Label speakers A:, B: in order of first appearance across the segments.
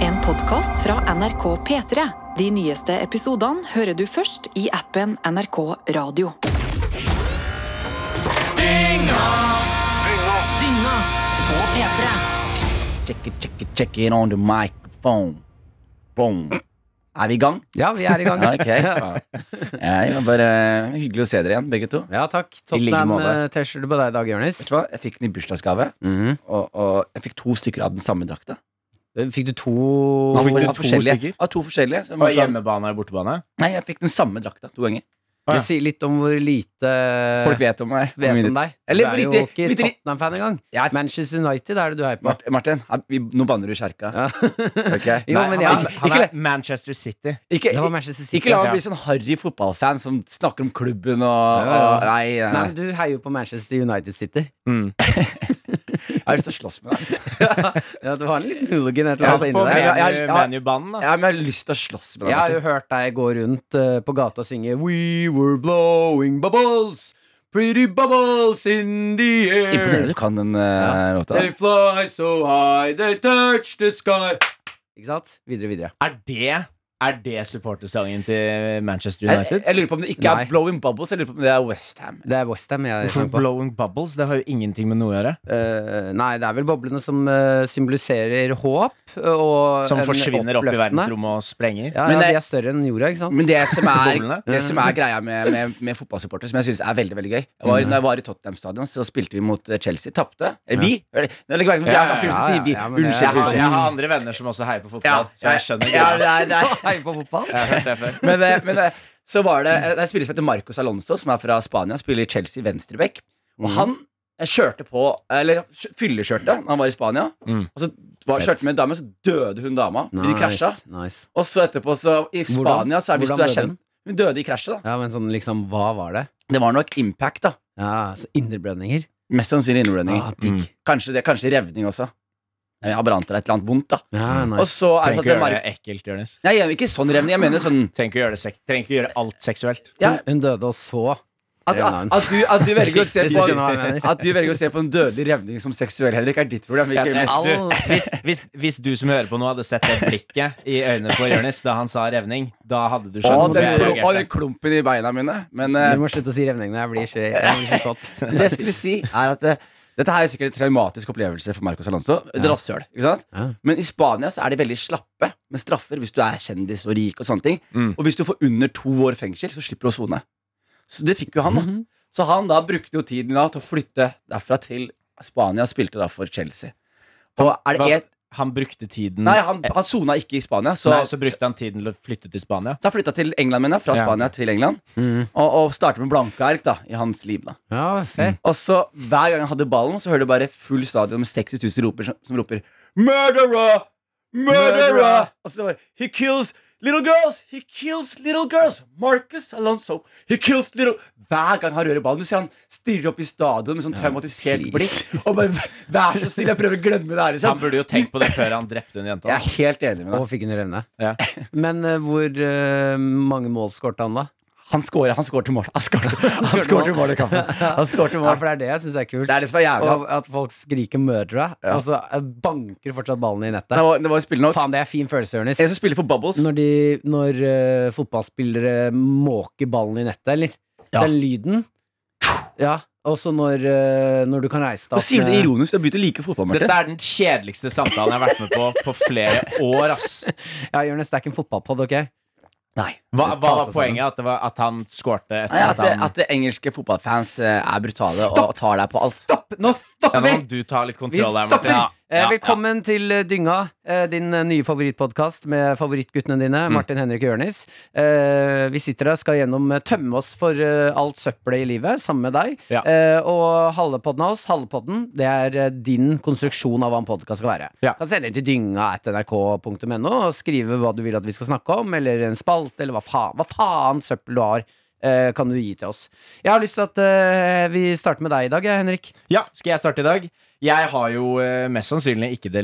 A: En podkast fra NRK P3. De nyeste episodene hører du først i appen NRK Radio. Dynga på P3.
B: Check it, check it, check it on the microphone. Boom. Er vi i gang?
C: Ja, vi er i gang.
B: Ja, ok. Ja, det var bare eh, hyggelig å se dere igjen, begge to.
C: Ja, takk.
B: I like måte.
C: Tottenham-T-skjorte på deg i dag, Jonis.
B: Vet du hva? Jeg fikk den i bursdagsgave, og, og jeg fikk to stykker av den samme drakta.
C: Eh, Fikk du to
B: Av,
D: fikk du
B: av
D: to
B: forskjellige.
D: stykker?
B: Av to forskjellige. som
D: På
B: var sånn-
D: hjemmebane og bortebane?
B: Nei, jeg fikk den samme drakta to ganger.
C: Det sier litt om hvor lite eh,
B: Folk vet om meg.
C: vet om deg.
B: Eller
C: du er
B: lite-
C: jo ikke
B: lite-
C: Tottenham-fan engang.
B: Jeg-
C: Manchester United er det du heier på.
B: Mart- Martin, ja, vi, nå banner du i kjerka.
C: Ja.
B: Ok?
C: Jo, men
D: han,
C: ja.
D: er,
B: Ikke-
D: han
B: ikke
D: er Manchester City.
B: Ikke,
C: Det var Manchester City.
B: ikke la meg
D: Ja.
B: bli sånn harry fotballfan som snakker om klubben og,
C: Ja, ja.
B: og Nei, nei,
C: Nei,
B: nei.
C: men du heier jo på Manchester United City.
B: Jeg har lyst til å slåss med deg.
C: Ja, det var en liten hooligan et eller
D: Ta
C: annet
D: på
C: inni der.
B: med- jeg- jeg- jeg-
D: ManU-banen, da.
B: Ja, men jeg har lyst til å slåss med deg.
C: Jeg har
B: Martin.
C: jo hørt deg gå rundt eh, på gata og synge We were blowing bubbles, pretty bubbles in the air.
B: Imponerende du kan den eh,
C: Ja.
B: låta.
C: They fly so high, they touch the sky. Ikke sant? Videre, videre.
D: Er det, er det supportersangen til Manchester
B: Jeg, jeg,
D: United?
B: jeg lurer på om det ikke
C: Nei.
B: er Blowing Bubbles, jeg lurer på om det er Westham.
C: Det er Westham jeg
D: For
C: tenker på.
D: Blowing Bubbles, det har jo ingenting med noe å gjøre.
C: Eh, nei, det er vel boblene som eh, symboliserer håp og
D: Som
C: en
D: forsvinner opp i
C: oppløftende.
D: verdensrommet og sprenger.
C: Ja,
B: Men
C: ja,
B: det-
C: de er større enn jorda, ikke sant?
B: Men det som er,
D: Boblene?
B: det som er greia med, med, med fotballsupporter, som jeg syns er veldig veldig gøy jeg var, Når jeg var i Tottenham stadion, så spilte vi mot eh, Chelsea. Tapte. Eller vi. Eller, nå legger jeg merke til at jeg er en
D: Ja, ja,
B: fyr som
C: ja,
B: sier vi.
C: ja, men det-
B: Unnskyld.
C: jeg har-
B: unnskyld.
D: andre venner som også heier på
B: Ja, ja,
D: greia.
B: det er- det er-
C: Heier på fotball?
D: Jeg har hørt det før.
B: Men, eh, men eh, så var det eh, Det er en spiller som heter Marcos Alonso, som er fra Spania. Spiller i Chelsea venstreback. Og
C: Mhm.
B: han eh, kjørte på Eller kjø- fyllekjørte da han var i Spania.
D: Mm.
B: Og så var,
D: Fett.
B: kjørte med en dame, og så døde hun dama. De krasja.
C: nice.
B: Og så etterpå, så I
C: Hvordan?
B: Spania, så er, hvis
C: Hvordan
B: du er
C: døde
B: kjent Hun døde i krasjet, da.
C: Ja, men sånn liksom, hva var det?
B: Det var nok impact, da.
C: Ja, så Indreblødninger.
B: Mest sannsynlig innblødning.
C: Ah, digg.
D: Mm.
B: Kanskje, det, kanskje revning også. Jeg har brant deg et eller annet vondt, da.
C: Ja,
B: Og
C: nice.
B: så er det sånn
D: Trenger ikke
B: at
D: gjøre det
B: Mark-
D: ekkelt, Jonis.
B: Nei, jeg mener ikke sånn revning. Jeg mener sånn
D: Trenger ikke gjøre det sek- trenger ikke gjøre alt seksuelt.
B: ja,
C: hun, hun døde, og så
B: at,
C: revna
B: at,
C: hun.
B: du, at, du velger å se
C: Du
B: på,
C: skjønner hva jeg mener.
B: at du velger å se på en dødelig revning som seksuell, Henrik, er ditt problem.
D: Ja,
B: Ikke mitt.
D: det- du, hvis, hvis, hvis du som hører på nå, hadde sett det blikket i øynene på Jonis da han sa revning, da hadde du
B: Å,
D: skjønt
B: den,
D: hvorfor jeg
B: å, den
D: reagerte.
B: klumpen i beina mine. Men eh,
C: Du må slutte å si revningene. Jeg blir så, jeg blir så kåt.
B: det jeg skulle si, er at eh, dette her er sikkert en traumatisk opplevelse for Marcos Alonso. Et rasshøl. ikke sant?
C: Ja.
B: Men i Spania så er de veldig slappe med straffer hvis du er kjendis og rik. Og sånne ting
D: Mm.
B: Og hvis du får under to år fengsel, så slipper du å sone. Så det fikk jo han. da
D: Mhm.
B: Så han da brukte jo tiden da til å flytte derfra til Spania. Spilte da for Chelsea. Og er det
D: Hva-
B: et,
D: Han brukte tiden
B: Nei, han, han sona ikke i Spania, så,
D: Nei, så brukte han tiden til å flytte til Spania.
B: så han flytta til England, mener jeg. Fra
D: Ja.
B: Spania til England.
C: Mhm.
B: Og, og startet med blanke ark da i hans liv. da
C: Ja, fett.
B: Og så Hver gang han hadde ballen, så hører du bare full stadion med 60 000 roper, som, som roper 'Murderer! Murderer!' Og så bare 'He kills little girls! He kills little girls! Marcus Alonso! He kills little Hver gang han rører ballen, du ser han stirrer opp i stadion med sånn traumatisert blikk. Og bare 'Vær så snill, jeg prøver å glemme det her',
D: Han
B: liksom.
D: burde jo tenkt på det før han drepte hun jenta.
B: Jeg er helt enig med
C: Og
B: deg.
C: fikk hun revne.
D: Ja.
C: Men eh, hvor eh, mange mål skårte han, da?
B: Han scorer, han scorer til mål. Han scorer, han scorer til mål i kampen. Han scorer til
C: Ja,
B: mål.
C: for det er det jeg syns er kult.
B: Det er det som er jævlig.
C: og at folk skriker 'murderer', og så eh, banker fortsatt ballen i nettet.
B: Det var, det var spillende nok.
C: Faen, det er fin følelse, Jonis.
B: En som spiller for Bubbles,
C: Når, de, når eh, fotballspillere måker ballen i nettet, eller?
B: Ja.
C: Den lyden. Ja. Og så når, eh, når du kan reise deg
B: så
C: opp
B: sier du det
C: med-
B: ironisk. Du har begynt å like fotball, Martin.
D: Dette er den kjedeligste samtalen jeg har vært med på på flere år. ass
C: Ja, Jonis, det er ikke en fotballpod, OK?
B: Nei.
D: Hva,
C: Ta
D: hva var
C: seg sammen.
D: poenget? At, det var, at han skårte etter
B: Nei, at,
D: at
B: det,
D: han
B: at det engelske fotballfans eh, er brutale og tar deg på alt.
C: Nå
D: ja,
C: stopper
D: Nå
C: vi!
D: må du ta litt
C: Vi
D: kontroll her,
C: stopper!
D: Martin. Ja,
C: Eh,
D: ja,
C: Velkommen til eh, Dynga, eh, din eh, nye favorittpodkast med favorittguttene dine,
D: Mm.
C: Martin, Henrik og Jørnis. Eh, Vi sitter der og skal gjennom eh, tømme oss for eh, alt søppelet i livet, sammen med deg.
D: Ja.
C: Eh, Og halvpodden av oss, halvpodden, det er eh, din konstruksjon av hva en podkast skal være.
D: Ja.
C: Kan sende inn til dynga at nrk.no og skrive hva du vil at vi skal snakke om, eller en spalt, eller hva faen, hva faen søppel du har. eh, Kan du gi til oss? Jeg har lyst til at eh, vi starter med deg i dag, jeg, Henrik.
D: Ja, skal jeg starte i dag? Jeg har jo eh, mest sannsynlig ikke det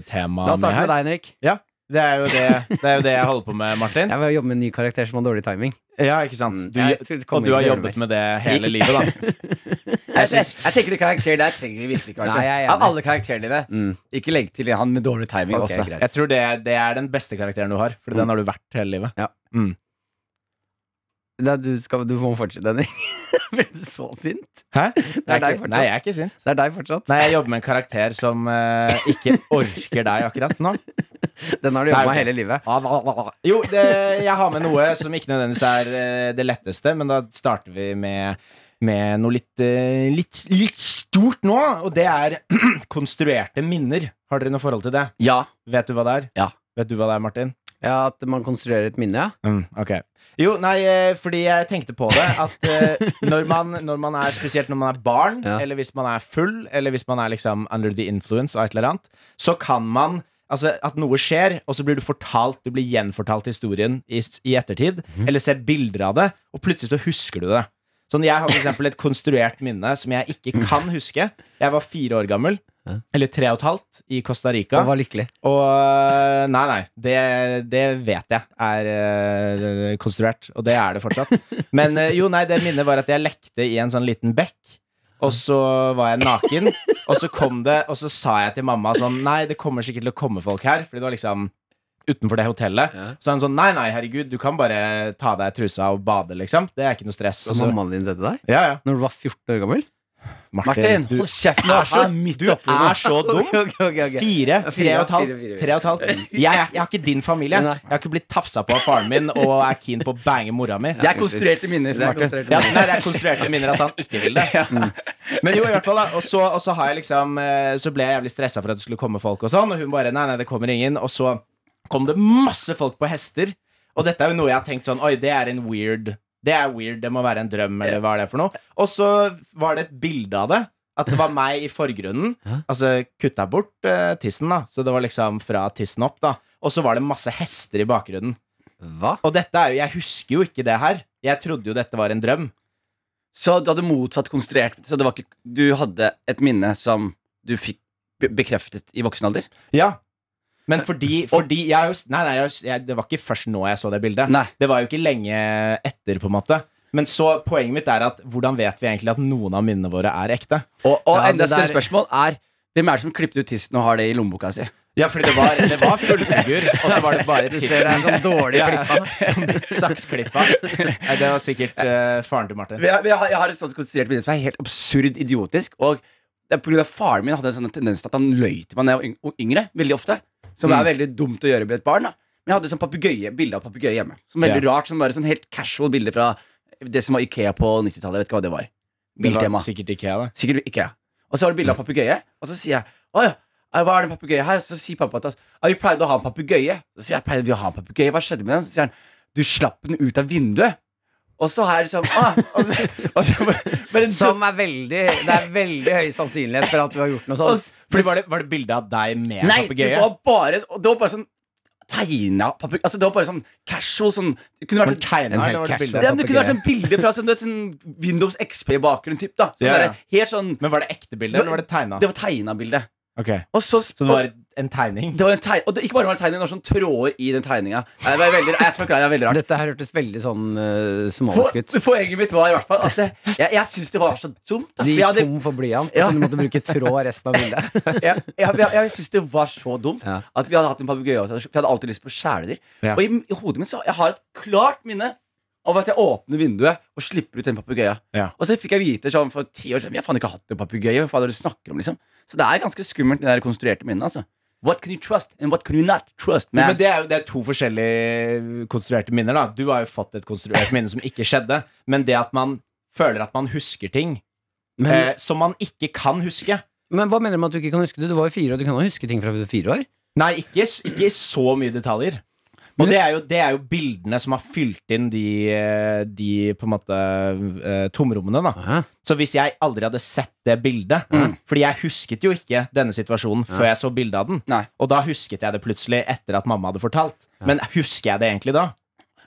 C: La
D: temaet
C: oss
D: med
C: starte med
D: her.
C: deg, Henrik.
D: Ja. Det er jo det, det, er jo det jeg holder på med, Martin.
C: Jeg vil jobbe med en ny karakter som har dårlig timing.
D: Ja, ikke sant?
C: Mm,
D: Du,
C: jeg tror det kommer
D: og du har
C: ikke
D: jobbet med det hele livet, da.
B: Jeg, jeg, jeg tenker det karakter der trenger vi virkelig ikke
C: Nei, jeg er enig.
B: Av alle karakterene dine.
C: Mm.
B: Ikke legg til han med dårlig timing
C: Ok,
B: også.
C: greit.
D: Jeg tror det er, det er den beste karakteren du har, for den har du vært hele livet.
C: Mm. Ja.
D: Mm.
C: Da, du, skal, du må fortsette, Henrik. Ble du så sint?
D: Hæ?
C: Det er
D: Jeg
C: deg
D: ikke-
C: fortsatt.
D: Nei, jeg er ikke sint.
C: Det er deg fortsatt.
D: Nei, jeg jobber med en karakter som eh, ikke orker deg akkurat nå.
C: Den har du jobbet
D: Nei,
C: med
D: ok.
C: hele livet.
D: Jo, det, jeg har med noe som ikke nødvendigvis er eh, det letteste, men da starter vi med, med noe litt, eh, litt, litt stort nå, og det er konstruerte minner. Har dere noe forhold til det?
B: Ja.
D: Vet du hva det er?
B: Ja.
D: Vet du hva det er, Martin?
C: Ja, At man konstruerer et minne, ja.
D: Mm, ok. Jo, nei, eh, fordi jeg tenkte på det at eh, når, man, når man er spesielt når man er barn,
C: Ja.
D: eller hvis man er full, eller hvis man er liksom under the influence av et eller annet, så kan man Altså at noe skjer, og så blir du fortalt Du blir gjenfortalt historien i, s- i ettertid,
C: Mhm.
D: eller ser bilder av det, og plutselig så husker du det. Sånn, Jeg har for eksempel et konstruert minne som jeg ikke kan huske. Jeg var fire år gammel,
C: Ja.
D: eller tre og et halvt, i Costa Rica.
C: Og var lykkelig.
D: Og eh, nei, nei, det, det vet jeg er eh, konstruert, og det er det fortsatt. Men eh, jo, nei, det minnet var at jeg lekte i en sånn liten bekk, og så var jeg naken, og så kom det, og så sa jeg til mamma sånn, nei, det kommer sikkert til å komme folk her, fordi det var liksom utenfor det hotellet.
C: Ja.
D: Så han sånn, nei, nei, herregud, du kan bare ta deg trusa og bade, liksom. Det er ikke noe stress. Og
C: Så
D: så,
C: mammaen din døde der?
D: ja, ja.
C: Når du var 14 år gammel?
B: Martin,
D: du
B: hold kjeften.
D: er så, du er så dum.
C: Ok, ok, ok, ok.
D: Fire, tre og et halvt.
C: fire, fire.
D: Tre og et halvt. Jeg, jeg, jeg har ikke din familie.
C: Nei.
D: Jeg har ikke blitt tafsa på av faren min og er keen på å bange mora mi.
B: Det er konstruerte minner.
C: Det er
B: Martin.
C: konstruert
D: Ja,
C: minne.
D: nei, det er konstruerte minner at han ikke vil det. Men jo, i hvert fall da Og så, og så har jeg liksom eh, Så ble jeg jævlig stressa for at det skulle komme folk og sånn, og hun bare Nei, nei, det kommer ingen. Og så kom det masse folk på hester, og dette er jo noe jeg har tenkt sånn Oi, det er en weird Det er weird, det må være en drøm, eller hva er det for noe? Og så var det et bilde av det. At det var meg i forgrunnen.
C: Ja.
D: Altså kutta bort eh, tissen, da. Så det var liksom fra tissen opp, da. Og så var det masse hester i bakgrunnen.
C: Hva?
D: Og dette er jo Jeg husker jo ikke det her. Jeg trodde jo dette var en drøm.
B: Så du hadde motsatt konstruert Så det var ikke, du hadde et minne som du fikk be- bekreftet i voksen alder?
D: Ja men fordi, fordi jeg, har jo- nei, nei, jeg, har jo- jeg, Det var ikke først nå jeg så det bildet.
B: Nei.
D: Det var jo ikke lenge etter. på en måte Men så poenget mitt er at hvordan vet vi egentlig at noen av minnene våre er ekte?
B: Og, og
D: Ja,
B: enda
D: det
B: større
D: der-
B: spørsmål er hvem er det som klippet ut tissen og har det i lommeboka si?
D: Ja, fordi det var, det var full figur, og så var det bare
C: Du ser det er en
D: tissen.
C: sånn dårlig
D: Ja.
C: klippa.
D: Saksklippa. Nei, Det var sikkert eh, faren til Martin.
B: Jeg, jeg, har, jeg har et sånt konstruert minne som er helt absurd idiotisk. Og det er på grunn av faren min hadde en sånn tendens til at han løy til meg da jeg var yng- yngre. Veldig ofte Som er veldig dumt å gjøre med et barn. Da. Men jeg hadde sånn papegøye- bilde av papegøye hjemme. Som veldig rart, som bare sånn helt casual bilde fra det som var Ikea på 90-tallet. Jeg Vet ikke hva det var.
D: Det var
B: Biltema.
D: sikkert ikke jeg, det.
B: Sikkert Ikea. Og så var det bilde av papegøye, og så sier jeg Å ja, eh, hva er det papegøye her? Så sier pappa til oss Ja, vi pleide å ha en papegøye. Så sier jeg pleide vi å ha en papegøye? Hva skjedde med den? Så sier han du slapp den ut av vinduet. Og så har jeg liksom ah, og så, og så, bare,
C: Som er veldig Det er veldig høy sannsynlighet for at du har gjort noe sånt.
D: Fordi var det, var det bilde av deg med
B: Nei, det
D: papegøye?
B: var bare og Det var bare sånn tegna papegøye Altså, det var bare sånn casual sånn Det kunne
D: Var
B: vært
D: det tegnet,
C: En
D: eller var det
C: helt
D: bilde
B: det,
D: av
B: det kunne vært
D: papegøye?
B: en bilde fra sånn, du vet, sånn Windows XP-bakgrunn-typ. da sånn
D: Ja, ja.
B: derre Helt sånn
D: Men var det ekte bilde, eller var det tegna?
B: Det var tegna bilde.
D: Ok.
B: Og så,
D: Så det var en tegning?
B: Det var en tegn, og det, ikke bare var det en tegning, det var sånn tråder i den tegninga. Det var veldig, jeg skal forklare, det er veldig rart.
C: Dette her hørtes veldig sånn eh, somalisk ut.
B: Po- Poenget mitt var i hvert fall at det, jeg, jeg syns det var så dumt. Da. For
C: De
B: Jeg,
C: gikk
B: hadde,
C: tom for blyant,
B: Ja.
C: så du måtte bruke tråd resten av bildet.
B: jeg, jeg, jeg, jeg syns det var så dumt
C: Ja.
B: at vi hadde hatt en papegøye. også, For jeg hadde alltid lyst på kjæledyr.
D: Ja.
B: Og i, i hodet mitt så jeg har et klart minne av at jeg åpner vinduet og slipper ut en papegøye.
D: Ja.
B: Og så fikk jeg vite sånn for ti år siden Jeg har faen ikke hatt en papegøye. Hva faen er det du snakker om, liksom? Så det er ganske skummelt, det der konstruerte minnet, altså. What can you trust, and what can you not trust,
D: Jo,
B: man?
D: men det er, jo, det er to forskjellige konstruerte minner. da Du har jo fått et konstruert minne som ikke skjedde, men det at man føler at man husker ting eh,
C: Men,
D: som man ikke kan huske.
C: men hva mener du med at du ikke kan huske det? Du var jo fire år, du kan jo huske ting fra du var fire år.
D: Nei, ikke, s- ikke i så mye detaljer. Og det er, jo, det er jo bildene som har fylt inn de, eh, de på en måte eh, tomrommene, da.
C: Aha.
D: Så hvis jeg aldri hadde sett det bildet Fordi jeg husket jo ikke denne situasjonen før jeg så bildet av den.
B: Nei.
D: Og da husket jeg det plutselig etter at mamma hadde fortalt. Men husker jeg det egentlig da?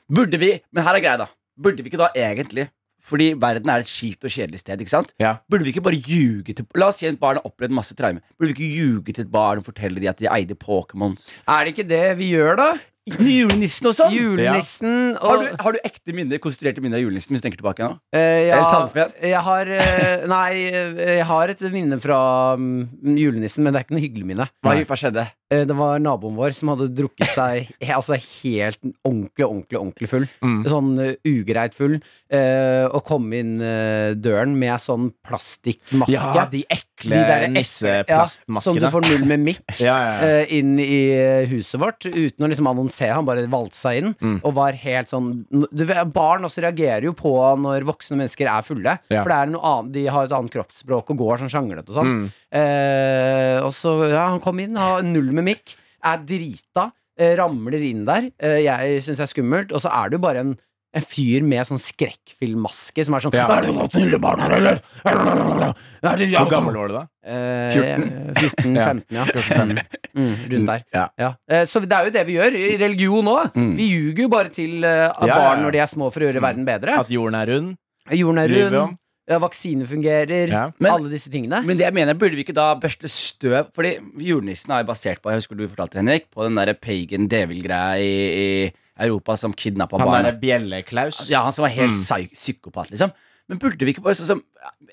B: Burde vi, men her er greia da Burde vi ikke da egentlig Fordi verden er et kjipt og kjedelig sted. ikke sant?
D: Ja.
B: Burde vi ikke bare ljuge til La oss si et barn har opplevd masse traume. Burde vi ikke ljuge til et barn og fortelle dem at de eide Pokémons?
C: Er det ikke det vi gjør, da?
B: Julenissen og sånn!
C: Julenissen og
B: Har, du, har du ekte minner, konsentrerte minner av julenissen? Hvis du tenker tilbake nå
C: Eh,
B: Eller
C: ja,
B: tannfen?
C: jeg har eh, Nei, eh, jeg har et minne fra mm, julenissen, men det er ikke noe hyggelig minne.
B: Hva, hva skjedde?
C: Eh, Det var naboen vår som hadde drukket seg he- altså helt ordentlig, ordentlig ordentlig full.
D: Mm.
C: Sånn eh, ugreit full. eh, og kom inn eh, døren med sånn plastikkmaske.
D: Ja, de ekle
C: der ekle- Ja, som du
D: nisseplastmaskene.
C: får null med mikk.
D: Ja, ja, ja.
C: eh, inn i eh, huset vårt uten å liksom annonsere. Han bare valgte seg inn
D: Mm.
C: og var helt sånn du, vet, Barn også reagerer jo på når voksne mennesker er fulle.
D: Ja.
C: For det er noe annet, de har et annet kroppsspråk og går sånn sjanglete og sånn.
D: Mm.
C: Eh, og så ja, han kom inn, har null med mikk, er drita, eh, ramler inn der. Eh, jeg syns det er skummelt. Og så er det jo bare en en fyr med sånn skrekkfilmmaske som er sånn
D: Ja.
C: Er det noen snille barn her, eller? Er det-
D: Hvor gammel var du da?
C: Eh,
B: 14.
C: 14,
D: Ja.
C: 15, ja. Mm, rundt der.
D: Ja.
C: Eh, Så det er jo det vi gjør i religion òg.
B: Mm.
C: Vi ljuger jo bare til eh,
D: Ja, ja,
C: barn
D: ja.
C: når de er små, for å gjøre verden bedre.
D: At jorden er rund?
C: Jorden er
D: Lyver
C: rund,
D: om.
C: ja, vaksine fungerer,
D: Ja.
B: Men-
C: alle disse tingene.
B: Men det jeg mener, burde vi ikke da børste støv Fordi julenissen er jo basert på Jeg husker du fortalte Henrik På den der pagan devil-greia i, i Europa som kidnappa
D: Han
B: barn.
D: derre Bjelleklaus?
B: Altså, Ja, han som var helt
D: Mm.
B: psy- psykopat, liksom. Men burde vi ikke bare sånn som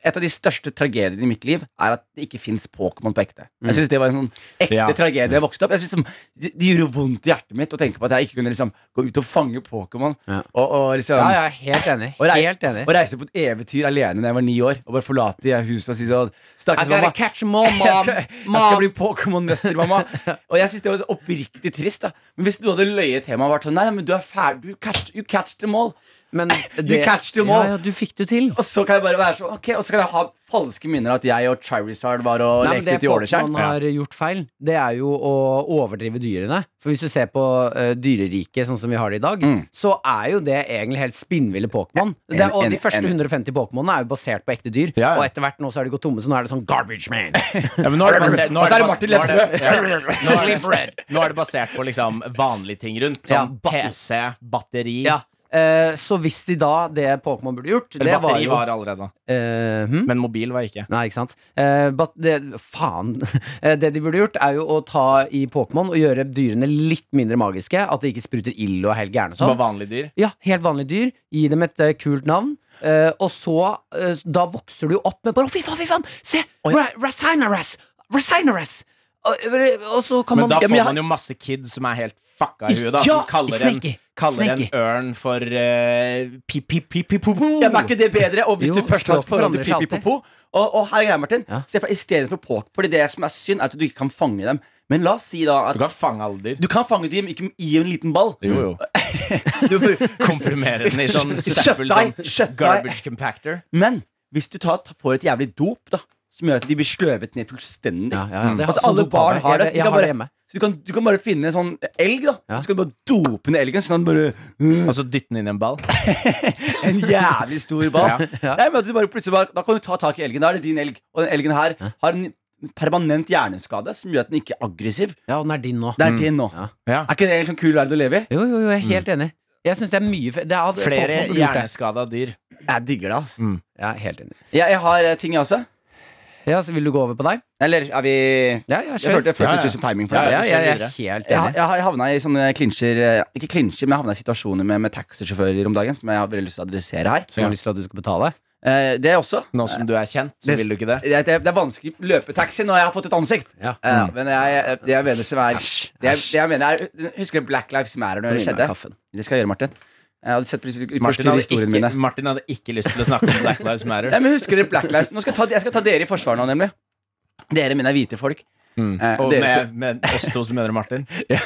B: Et av de største tragediene i mitt liv er at det ikke fins Pokémon på ekte. Jeg synes det var en sånn ekte
D: Mm. Ja.
B: tragedie jeg vokste opp Jeg synes som, det, det gjorde vondt i hjertet mitt å tenke på at jeg ikke kunne liksom gå ut og fange Pokémon
C: Ja.
B: og, og liksom
C: Ja, jeg er helt enig.
B: Og rei-
C: Helt enig.
B: Og reise på et eventyr alene da jeg var ni år, og bare forlate det huset og si sånn
C: I
B: Stakkars
C: gotta
B: mamma.
C: catch more,
B: Jeg
C: mom.
B: skal, jeg skal
C: mom.
B: bli Pokémon-mester, mamma. Og jeg synes det var så oppriktig trist. da Men hvis du hadde løyet til meg og vært sånn Nei, men du er ferdig. You catch, you catch them all.
C: Men
B: You catch them all.
C: Ja, ja, du fikk det til.
B: Og så kan jeg bare være sånn Ok, og så kan jeg ha falske minner at jeg og Charizard var og
C: Nei, men
B: lekte ut
C: det
B: i Ålesjern.
C: Pokémon har gjort feil, det er jo å overdrive dyrene. For hvis du ser på uh, dyreriket sånn som vi har det i dag,
B: Mm.
C: så er jo det egentlig helt spinnville Pokémon. Det er- Og
B: enig,
C: de første
B: enig.
C: 150 Pokémonene er jo basert på ekte dyr.
D: Ja, ja.
C: Og etter hvert nå så er de gått tomme, så nå er det sånn garbage man.
D: Ja, men nå er det basert, nå
B: Og så er det
D: bas-
B: Martin
D: nå er det- ja. Nå er
C: Live red.
D: det- Nå er det basert på liksom vanlige ting rundt.
C: Ja,
D: Sånn
C: batteri.
D: PC, batteri
C: Ja. Eh, så hvis de da, det Pokémon burde gjort,
D: Eller
C: det var
D: batteri
C: jo
D: var allerede, da.
C: Eh, hm?
D: men mobil var ikke.
C: Nei, ikke sant. Eh, but det, faen. Eh, det de burde gjort, er jo å ta i Pokémon og gjøre dyrene litt mindre magiske. At de ikke spruter ild og er helt gærne og
D: Så
C: sånn.
D: bare vanlige dyr.
C: Ja, helt vanlige dyr. Gi dem et eh, kult navn. Eh, og så eh, Da vokser du jo opp med bare, Fy faen, fy faen! Se! Ra Rasinaras! Rasinaras! Og, og så kan
D: Men
C: man
D: da
B: Ja,
D: får
B: men jeg-
D: man jo masse kids som er helt fucka i huet, da.
C: Ja,
D: Som kaller en,
C: sneaky,
D: kaller en
C: sneaky.
D: ørn for eh, pi-pi-pi-pi-po-po.
B: Ja, men er ikke det bedre? Og hvis
C: Jo,
B: du først har
C: språk forandrer
B: forandret
C: seg
B: pipi popo Og, og her er greia, Martin.
C: Ja.
B: Se for deg istedenfor Pokémon. Fordi det som er synd, er at du ikke kan fange dem. Men la oss si da
D: Du
B: at
D: kan fange alle dyr.
B: du kan fange dem ikke i en liten ball.
D: Jo, jo.
B: Du,
D: Komprimere den i sånn
B: Shut
D: søppel,
B: deg,
D: sånn
B: shut deg.
D: garbage compactor.
B: Men hvis du tar, får et jævlig dop, da som gjør at de blir sløvet ned fullstendig.
C: Ja, ja, ja. Det-
B: altså
C: sånn
B: Alle
C: dopa
B: barn
C: det.
B: har det.
C: Jeg-
B: Så de
C: jeg
B: kan
C: har det
B: bare-
C: hjemme.
B: så du kan, du kan bare finne en sånn elg, da.
C: Ja.
B: Så kan du bare dope ned elgen, sånn at den bare
D: Og så dytte den inn i en ball.
B: En jævlig stor ball.
D: Ja.
C: Ja.
B: Nei, men at du bare plutselig bare, Da kan du ta tak i elgen. Da er det din elg. Og den elgen her har en permanent hjerneskade som gjør at den ikke er aggressiv.
C: Ja, den er din nå. Mm.
B: Det er din nå. Mm.
C: Ja.
D: Ja.
B: Er ikke det en sånn kul verden å leve i?
C: Jo, jo, jo, jeg er helt enig. Jeg syns det er mye fe- det er,
D: Flere
C: Pokémon burde gjort det.
D: hjerneskada dyr.
B: Jeg digger det. altså
C: Jeg er helt enig.
B: Jeg, jeg har eh, ting, jeg også.
C: Ja, så Vil du gå over på deg?
B: Eller er vi
C: Ja, ja,
B: Jeg
C: kjør.
B: følte, jeg følte
D: Ja, ja.
B: det ut som timing. For
C: Ja,
B: deg.
C: ja,
D: kjør
C: jeg er
D: videre.
C: helt
B: Jeg,
C: enig.
B: jeg har havna i sånne klinsjer eh, Ikke klinsjer, men jeg havna i situasjoner med, med taxisjåfører om dagen. Som jeg har veldig lyst til å adressere her.
C: Som har lyst til at du skal betale?
B: Eh, det også.
D: Nå som du er kjent, så vil du ikke det?
B: Det, er- det er vanskelig å løpe taxi når jeg har fått et ansikt.
C: Ja.
B: Ja, men jeg, det jeg mener som er det jeg, det jeg mener er Husker du Black Lives Matter når det
C: Få i meg
B: skjedde?
C: kaffen.
B: Det skal jeg gjøre, Martin. Jeg hadde sett
D: Martin
B: utforsket
D: hadde,
B: historiene mine.
D: ikke, Martin hadde ikke lyst til å snakke om Black Lives Matter.
B: Nei, men husker dere Black Lives Nå skal jeg ta, jeg skal ta dere i forsvar nå, nemlig. Dere mine er hvite folk. Eh,
D: Og
B: dere
D: med, med oss to som mener Martin.
B: Ja,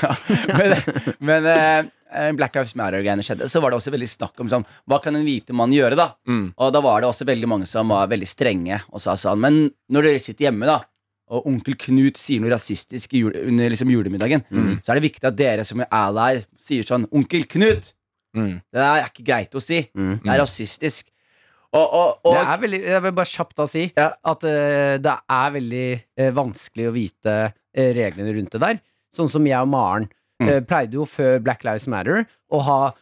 B: men men eh, eh, Black Lives Matter-greiene skjedde. Så var det også veldig snakk om sånn, hva kan en hvite mann gjøre. da?
D: Mm.
B: Og da var det også veldig mange som var veldig strenge og sa sånn Men når dere sitter hjemme, da, og onkel Knut sier noe rasistisk i jul, under liksom julemiddagen,
D: Mm.
B: så er det viktig at dere som er allies sier sånn Onkel Knut!
D: Mm.
B: Det der er ikke greit å si.
C: Mm.
B: Det er rasistisk. Og, og, og
C: det er veldig, jeg vil bare kjapt da si
B: Ja.
C: at eh, det er veldig eh, vanskelig å vite eh,
D: Mm.
C: reglene rundt det der. Sånn som jeg og Maren eh, pleide jo før Black Lives Matter å ha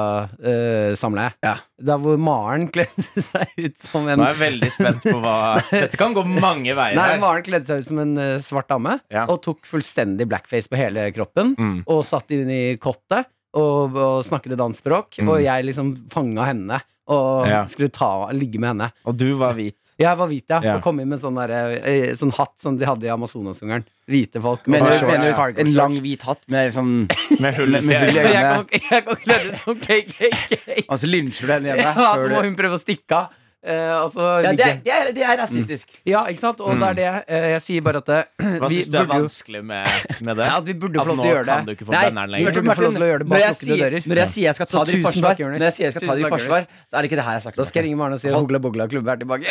C: Hugla-bugla-samleie.
B: Ja.
C: Der hvor Maren kledde seg ut som en
D: Nå er jeg veldig spent på hva Dette kan gå mange veier
C: Nei,
D: her.
C: Maren kledde seg ut som en eh, svart dame
D: Ja.
C: og tok fullstendig blackface på hele kroppen.
D: Mm.
C: Og satt inn i kottet og, og snakket et annet språk.
D: Mm.
C: Og jeg liksom fanga henne og
D: Ja.
C: skulle ta, ligge med henne.
D: Og du var hvit.
C: Jeg var hvit, ja.
D: Ja.
C: Og kom inn med sånn, der, eh, sånn hatt som de hadde i Amazonasjungelen. Hvite folk. og
B: Mener
C: sånn
B: du-
C: shorts.
B: mener
C: Fargo
B: du en
C: shorts.
B: lang hvit hatt med sånn
D: Med hull
B: Med- med hull i
C: Jeg kan
B: øynene?
C: jeg kan kledd ut som KKK.
B: Og så altså, lynsjer du henne
C: Ja,
B: hjemme?
C: så
B: før
C: Altså, må
B: du-
C: hun prøve å stikke av. Eh, og så
B: Ja, det,
C: ligger-
B: er, Mm. det, er, det er rasistisk.
C: ja, ikke sant? Og det er det. eh, jeg sier bare at det,
D: Hva
C: vi
D: syns du er
C: burde jo-
D: vanskelig med, med det?
C: Ja, at vi burde
D: At
C: få lov
D: nå
C: til å gjøre
D: kan du
C: det.
D: ikke få banneren
C: vi
D: lenger?
C: burde få lov til å gjøre det bak
B: når jeg
C: lukkede
B: sier-
C: dører.
B: Når jeg sier jeg skal ta dere
C: Så
B: i
C: tusen
B: forsvar,
C: takk, Jonis.
B: Når jeg sier jeg skal ta
C: Tusen
B: dere i
C: takk,
B: forsvar,
C: Jonis.
B: så er det ikke det her jeg snakker
C: Da
B: om.
C: skal jeg ringe Maren og si at Hogla Bogla klubb er tilbake.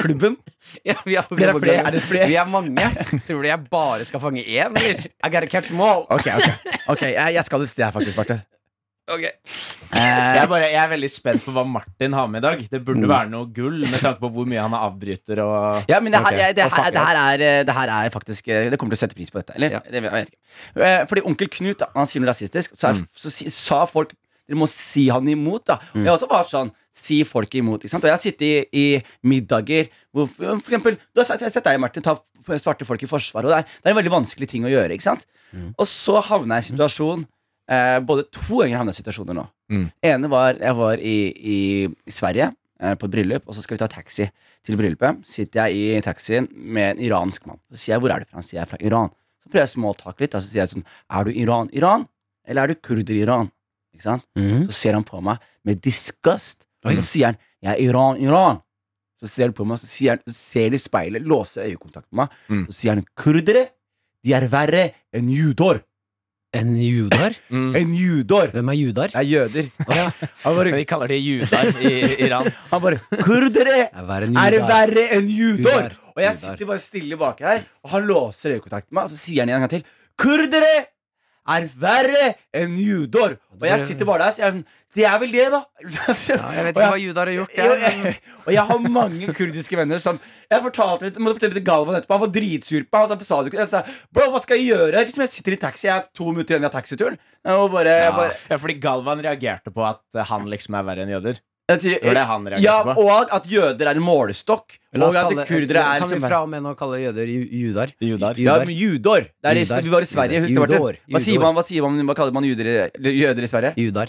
B: Klubben?
C: Ja, vi
B: Dere
C: er,
B: er
C: Hogla Bogla.
B: flere, er det flere?
C: Vi er mange. Tror du jeg bare skal fange én? eller? I gotta catch them all.
B: Ok, ok, ok jeg, jeg skal et sted her, faktisk, Marte.
C: Ok.
D: Jeg er, bare, jeg er veldig spent på hva Martin har med i dag. Det burde være noe gull med tanke på hvor mye han er avbryter og
B: Ja, men det her,
D: Ok,
B: jeg, det,
D: og
B: her,
D: fucker
B: det, her er, eh, det her er faktisk eh, Dere kommer til å sette pris på dette. Eller?
C: Ja.
B: Det, jeg vet ikke. Eh, Fordi onkel Knut da, han sier noe rasistisk, så, er,
D: Mm.
B: så si, sa folk dere må si han imot. da Og Jeg også var sånn Si folk imot. Ikke sant? Og jeg har sittet i, i middager hvor f- for eksempel, Du har sett, sett deg, Martin, ta f- svarte folk i forsvaret. Og det er, det er en veldig vanskelig ting å gjøre. Ikke sant?
D: Mm.
B: Og så havna jeg i en situasjon eh, Både to ganger havna jeg i situasjoner nå.
D: Mm.
B: ene var Jeg var i, i, i Sverige eh, på et bryllup, og så skal vi ta taxi til bryllupet. Sitter jeg i taxien med en iransk mann. Så sier jeg hvor er du fra? Han sier jeg er fra Iran. Så prøver jeg å smalltalke litt, og så sier jeg sånn Er du Iran? Iran? Eller er du kurder i Iran? Ikke sant?
C: Mm.
B: Så ser han på meg med disgust. Og så sier han 'Jeg er Iran, Iran'. Så ser han på meg, så sier han, så ser han i speilet, låser øyekontakt med meg,
D: Mm.
B: så sier han 'Kurdere, de er verre enn judor'.
C: En judar?
D: mm.
B: En judor!
C: Hvem er judar?
B: Det er jøder.
C: Ja.
B: Han
D: Men
B: bare,
D: de kaller de judar i Iran.
B: han bare 'Kurdere er det verre enn judor'.
C: Judar.
B: Og jeg
C: Judar.
B: sitter bare stille bak her, og han låser øyekontakt med meg, og så sier han en gang til 'Kurdere er verre enn judor'. Og jeg sitter bare der, så jeg Det er vel det, da.
C: Ja, eh, jeg vet
B: Og
C: ikke hva judar har gjort.
B: Jo,
C: Jeg,
B: jeg, og jeg har mange kurdiske venner som Jeg fortalte det, måtte fortelle det til Galvan etterpå. Han var dritsur på meg. og så sa det ikke- Jeg sa bro, hva skal jeg gjøre? Liksom, jeg sitter i taxi, jeg er to minutter igjen av taxituren. Jeg må bare, jeg bare
D: Ja, fordi Galvan reagerte på at han liksom er verre enn jøder.
B: jeg, sier-
D: Det var det han reagerte
B: ja,
D: på.
B: og at jøder er en målestokk.
C: La oss
B: Og at
C: kalle-
B: kurdere er
C: Kan vi
B: liksom-
C: fra og med nå kalle jøder ju- judar?
D: Judar.
B: ja, men judor. Det er
C: Judar.
B: det, vi var i Sverige. Husk det,
C: Judor.
B: Martin. Hva sier
C: Judor.
B: man, hva, sier man, hva kaller man jøder, i- eller jøder i Sverige?
C: Judar.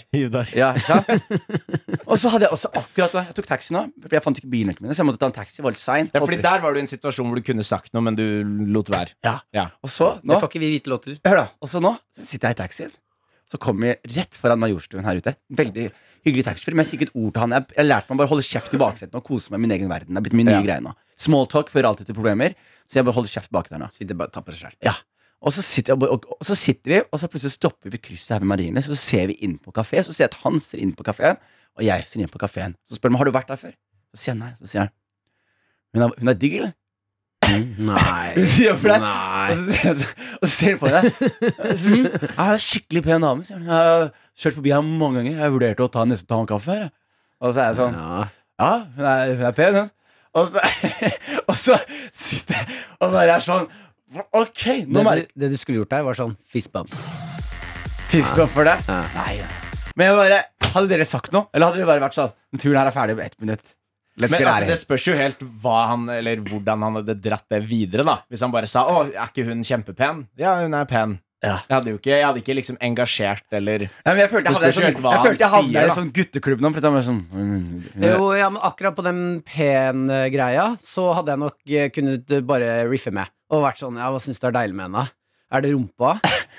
B: Ja, ikke sant? og så hadde jeg også akkurat Jeg tok taxi nå, for jeg fant ikke bilene mine. Så jeg måtte ta en taxi. Var litt sein.
D: Ja, fordi der var du i en situasjon hvor du kunne sagt noe, men du lot være.
B: Ja.
D: Ja.
B: Og så,
C: Det
B: nå
C: får ikke vi hvite lov til.
B: Hør da, og så nå så sitter jeg i taxien Så kommer jeg rett foran Majorstuen her ute Veldig hyggelig taxfree, men jeg sier ikke et ord til han Jeg, jeg lærte meg bare å holde kjeft i baksetten og kose meg i min egen verden Det har blitt min nye
D: Ja.
B: greie nå Small talk fører alltid til problemer Så jeg bare holder kjeft bak der nå
C: Sitter bare og tapper seg selv.
B: ja. og, så sitter jeg, bare- og, og så sitter vi, og så plutselig stopper vi ved krysset her ved Marienlyst, Så ser vi inn på kafé, så ser jeg at han ser inn på kaféen Og jeg ser inn på kaféen Så spør han, har du vært der før? Så sier han nei, så sier han Hun er, hun er digg, eller?
C: Nei. Altså,
B: Hun sier for deg
C: Nei.
B: Og så ser- og så ser hun på deg. Så, mm, Jeg er skikkelig pen dame. sier hun. Jeg har kjørt forbi her mange ganger. Jeg vurderte å ta nesten ta en kaffe her. jeg.» Og så er jeg sånn
C: Ja.
B: Ja, hun er, hun er pen, hun. Og så, og så sitter jeg og bare er sånn Ok, nå
C: Det,
B: merker
C: du, det du skulle gjort der, var sånn fist bump.
B: Fisk opp for deg? Nei. Men jeg bare Hadde dere sagt noe? Eller hadde dere bare vært sånn Den turen her er ferdig om ett minutt. Let's
D: Men
B: get out
D: altså,
B: of
D: det
B: here.
D: spørs jo helt hva han, eller hvordan han hadde dratt det videre. da Hvis han bare sa 'Å, er ikke hun kjempepen?' Ja, hun er pen.
B: Ja.
D: Jeg hadde jo ikke, jeg hadde ikke liksom engasjert eller
B: Nei, men jeg følte jeg
D: det
B: havna i
D: spørs jo helt
B: sånn-
D: hva
B: jeg
D: han
B: følte jeg havna i
D: sier,
B: en
D: da.
B: sånn gutteklubb nå. For jeg var sånn mm, mm,
C: Jo, ja, men akkurat på den pen-greia, så hadde jeg nok eh, kunnet eh, bare riffe med. Og vært sånn Ja, hva syns du er deilig med henne? Er det rumpa?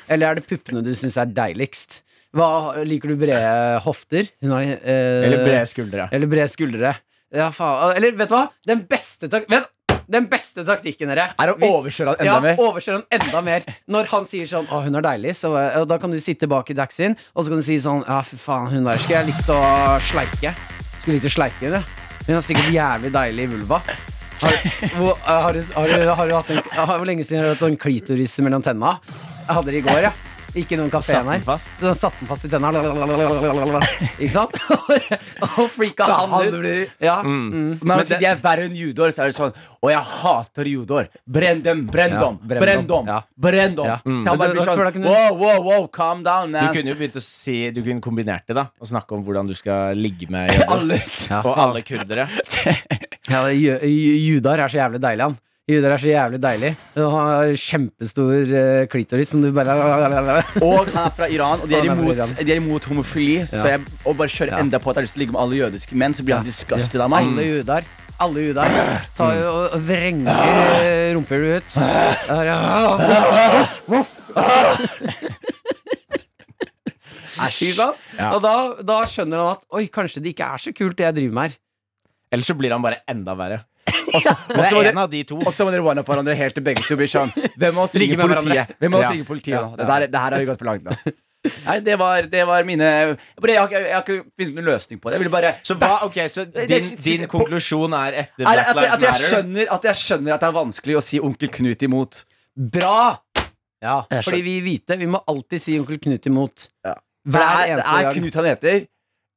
C: Eller er det puppene du syns er deiligst? Hva Liker du brede hofter? Nei, eh,
D: Eller brede skuldre.
C: eller brede skuldre. Ja, faen. Eller vet du hva? Den beste tak... Vent! Den beste taktikken, dere.
B: Er å
C: Hvis-
B: overkjøre han enda
C: ja,
B: mer.
C: overkjøre han enda mer. Når han sier sånn 'Å, hun er deilig', så eh, og da kan du sitte bak i taxien, og så kan du si sånn 'Ja, fy faen, hun der skulle jeg likt å sleike'. Skulle likt å sleike henne. Hun har sikkert jævlig deilig vulva. Har, hvor, eh, sånn har, du- har, du- har, du hatt en, har, hvor lenge siden har du hatt en klitoris mellom tenna? Jeg hadde det i går, ja. Ikke noen kafeen
D: Satt
C: her.
D: den fast.
C: Så satt den fast i tenna. Ikke sant? og freaka
D: Så han
C: han ut.
D: blir-
C: Ja.
B: Når
D: Mm.
B: han
D: Men
B: sier
D: det-
B: jeg er verre enn judor, så er det sånn Å, jeg hater judor. Brenn dem, brenn
C: Ja,
B: dem,
C: brenn
B: brenn
C: dem,
B: dem.
C: ja.
B: Brenn dem.
C: Ja. Mm.
B: Til han
C: Men
B: bare
C: det-
B: blir
C: da- for da
B: sånn
C: kunne-
B: Wow, wow, wow, calm down,
D: Du
B: man.
D: kunne jo begynt å si Du kunne kombinert det, da. Og snakke om hvordan du skal ligge med jøder.
B: Alle
C: Ja,
D: Og
C: faen.
D: alle kurdere.
C: Ja, jø- jø- Judar er så jævlig deilig, han. Judar er så jævlig deilig. Han har kjempestor eh, klitoris som du bare
B: Og han er fra Iran, og de er
C: Han er fra
B: imot,
C: Iran.
B: de er imot homofili. Så jeg og bare kjører
C: Ja. Mm.
B: enda på at jeg har lyst til å ligge med alle jødiske menn, så blir han disgusted av meg.
C: Alle judar. Alle judar tar jo og vrenger rumpehjulet ut. Der, ja. Ikke sant?
D: Ja.
C: Og da, da skjønner han at oi, kanskje det ikke er så kult det jeg driver med her.
D: Eller så blir han bare enda verre.
B: Og
D: Det
B: så må
D: er
B: dere-
D: en av de to.
B: og så må dere one-up hverandre helt til begge to blir sånn Hvem av oss
C: Ligge
B: ringer
C: med hverandre.
B: politiet? Hvem av oss
D: Ja.
B: ringer politiet
C: Ja.
B: nå? Det, der, det her har vi gått for langt nå. Nei, det var, det var mine Jeg, bare- jeg, har ikke- jeg har ikke funnet noen løsning på det. Jeg ville bare
D: Så hva, ok, så
B: det-
D: din,
B: det-
D: din
B: det-
D: konklusjon er etter
B: er,
D: Black
B: at, jeg,
D: Lives
B: at, jeg
D: Matter?
B: skjønner, at jeg skjønner at det er vanskelig å si onkel Knut imot.
C: Bra! Ja,
B: Jeg
C: fordi vi hvite, vi må alltid si onkel Knut imot.
B: Ja. For det
C: Hver
B: er, det
C: eneste
B: er
C: dag.
B: Knut han heter,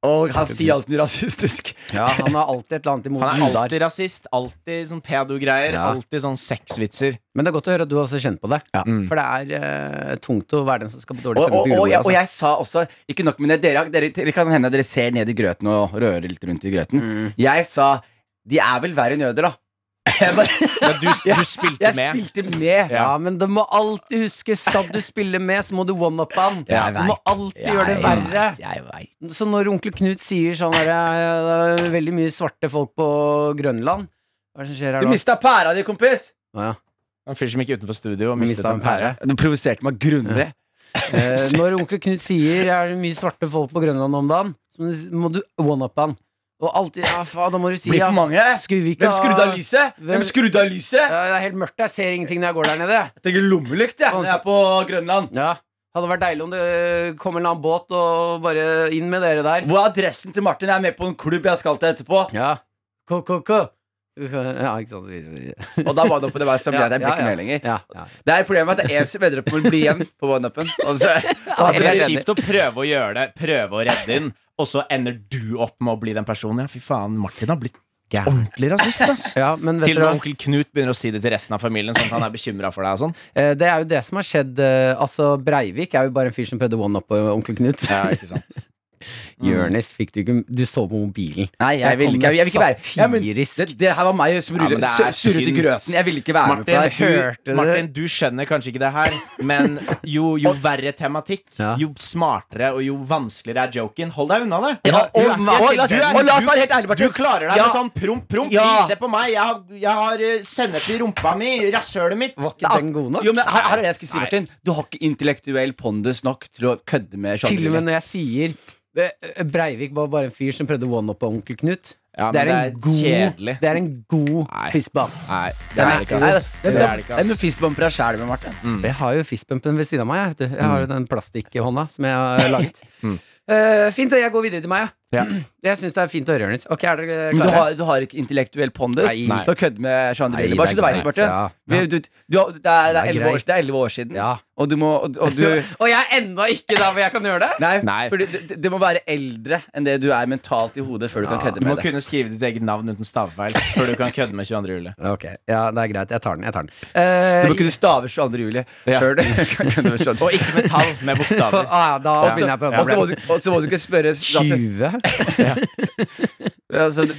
B: og han sier alltid noe rasistisk.
C: Ja, han har alltid et eller annet imot
D: Han er
C: judar.
D: alltid rasist, alltid sånn pedo-greier,
C: Ja.
D: alltid sånn sexvitser.
C: Men det er godt å høre at du også kjenner på det.
D: Mm.
C: For det er eh, tungt å være den som skal på dårlig
B: Og,
C: stemning
B: og,
C: på
B: og, jeg,
C: julebord.
B: og
C: Altså.
B: jeg sa også Ikke nok med det, dere, dere, det kan hende dere ser ned i grøten og rører litt rundt i grøten.
D: Mm.
B: Jeg sa De er vel verre enn jøder, da. Jeg, bare,
D: Ja, du, du spilte
B: jeg
D: med.
B: spilte med.
C: Ja, men du må alltid huske, skal du spille med, så må du one-up han.
B: Jeg
C: Du må
B: vet.
C: alltid gjøre det verre.
B: Jeg, jeg vet.
C: Så når onkel Knut sier sånn her eh, Det er veldig mye svarte folk på Grønland. Hva er det som skjer her
B: Du
C: nå?
B: mista pæra di, kompis!
C: Å, ja.
D: En fyr som gikk utenfor studio og mistet
C: Mista
D: en pære.
B: Du provoserte meg grundig.
C: Eh, når onkel Knut sier det er mye svarte folk på Grønland om dagen, så må du one-up han. Og alltid Ja, faen, da må du si
B: Blir
C: ja.
B: for mange.
C: Skulle vi ikke
B: Hvem skrudde av
C: ha-
B: lyset?
C: Hvem-
B: Hvem skrudde av lyset?
C: Ja, det er helt mørkt. Jeg ser ingenting når jeg går der nede.
B: Jeg tenker lommelykt jeg, når jeg er på Grønland.
C: Ja, hadde vært deilig om det kom en eller annen båt og bare inn med dere der.
B: Hvor er adressen til Martin? Jeg er med på en klubb jeg skal til etterpå.
C: Ja. Ko-ko-ko. Ja, ikke sant. videre, videre.
B: Og da one-upen det var så ble
C: Ja,
B: det jeg blir
C: ja,
B: ikke
C: ja.
B: med lenger.
C: Ja, ja.
B: Det er problemet at det er en som ender opp med å bli igjen på one-upen. Og så- og
D: Altså, Det
B: så-
C: jeg
D: er
C: er
D: kjipt å prøve å gjøre det, prøve å redde inn, og så ender du opp med å bli den personen. Ja, fy faen, Martin har blitt ordentlig rasist, ass.
C: ja men vet
D: Til og med
C: dere,
D: onkel Knut begynner å si det til resten av familien, sånn at han er bekymra for deg og sånn.
C: eh, det er jo det som har skjedd. eh, Altså, Breivik er jo bare en fyr som prøvde one-up på onkel Knut.
D: Ja, ikke sant.
C: Jonis fikk du ikke Du så på mobilen.
B: Nei, jeg vil ikke, jeg, vil ikke være ja, men,
C: Satirisk.
B: det, det her var meg som
D: Ja, men
B: ruller-
D: det er
B: sur- surret i
D: synd.
B: grøten. Jeg ville ikke være med på
D: Martin,
B: det. her.
C: hørte
D: du,
C: dere?
D: Martin, du skjønner kanskje ikke det her, men jo, jo verre tematikk,
C: Ja.
D: jo smartere og jo vanskeligere er joken. Hold deg unna det!
C: Ja,
D: Du er
C: og-
D: ikke-
C: og la oss-
D: du er-
B: og la oss
D: du-
B: være helt ærlig, Martin.
D: Du klarer deg
B: Ja.
D: med sånn promp, promp.
B: Ja.
D: Se på meg, jeg har, jeg har eh, sennep i rumpa mi, rasshølet mitt.
C: Var ikke den god nok?
B: Jo, men her, her er det jeg skulle si, Martin. Du har ikke intellektuell pondus nok til å kødde med
C: Til og med
B: sjangerlinjen.
C: når jeg sier eh, Breivik var bare en fyr som prøvde one-up på onkel Knut.
D: Ja,
C: det,
D: men
C: er en
D: det er
C: god,
D: kjedelig.
C: det er en god
D: Nei.
C: fistbump.
D: Nei, det er det ikke, ass. Det er det ikke,
B: En
D: ass.
B: fistbumper er sjæl med Martin.
C: Jeg har jo fistbumpen ved siden av meg. Jeg, vet du. jeg har jo den plastikkhånda som jeg har laget. Eh, fint, og jeg går videre til meg.
D: Ja.
C: Jeg syns det er fint å høre, Jonis. Ok, er dere
B: Men du
C: klare?
B: har, du har ikke intellektuell pondus
C: Nei.
B: til å kødde med sjangerlinjen. Bare så du
C: Nei,
B: veit,
C: det
B: Martin.
C: er greit,
B: Vi- Du, du, har- det er- det
C: Det
B: er
C: er
B: elleve år,
C: greit.
B: det er 11 år siden,
C: Ja.
B: og du må og, og du
C: Og jeg er ennå ikke der hvor jeg kan gjøre det!
B: Nei,
D: Nei.
B: Fordi det, det- det må være eldre enn det du er mentalt i hodet før du kan kødde
D: Du må
B: med det.
D: kunne skrive ditt eget navn uten stavefeil før du kan kødde med 22. juli.
C: Ok, ja, det er greit. Jeg tar den. jeg tar den Eh,
B: Du må kunne stave 22. juli
D: Ja.
B: før du kan kødde med 22.
D: Og ikke med tall, med
C: å,
D: bokstaver.
C: ah, Da
B: Og så-
C: begynner jeg på
B: og så må du- Og så må du ikke spørre at-
C: 20?
B: altså, du-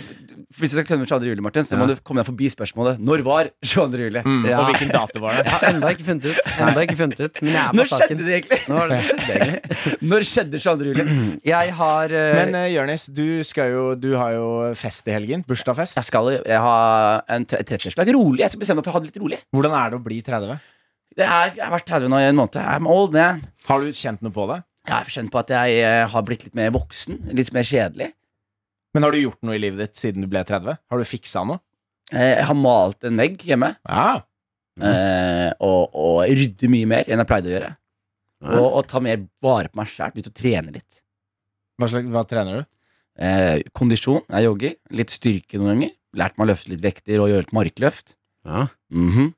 B: Hvis du skal kødde med 22. juli, Martin, så må
C: Ja.
B: du komme deg forbi spørsmålet Når var 22. juli?
C: Ja.
D: Og hvilken dato var
C: Jeg
D: det?
C: har ennå ikke funnet ut. Enda ikke funnet ut Men jeg er
B: Når
C: på saken.
B: skjedde det egentlig?
C: Nå har det skjedd, egentlig.
B: Når skjedde 22. juli?
C: Jeg har eh,
D: Men uh, Jørnis, du, skal jo, du har jo fest i helgen. Bursdagsfest.
B: Jeg skal jeg har en tre- 30-årslag rolig. Jeg skal bestemme meg for å ha det litt rolig.
D: Hvordan er det å bli 30?
B: Det er, jeg har vært 30 nå i en måned. I'm old man.
D: Har du kjent noe på det?
B: Jeg har kjent på at jeg eh, har blitt litt mer voksen. Litt mer kjedelig.
D: Men har du gjort noe i livet ditt siden du ble 30? Har du fiksa noe?
B: Eh, Jeg har malt en vegg hjemme.
D: Ja.
B: Eh, og, og rydde mye mer enn jeg pleide å gjøre. Og, og ta mer vare på meg sjæl. Begynte å trene litt.
D: Hva, slags, hva trener du?
B: Eh, kondisjon. Jeg jogger. Litt styrke noen ganger. Lært meg å løfte litt vekter og gjøre et markløft.
C: Ja.
B: Mhm.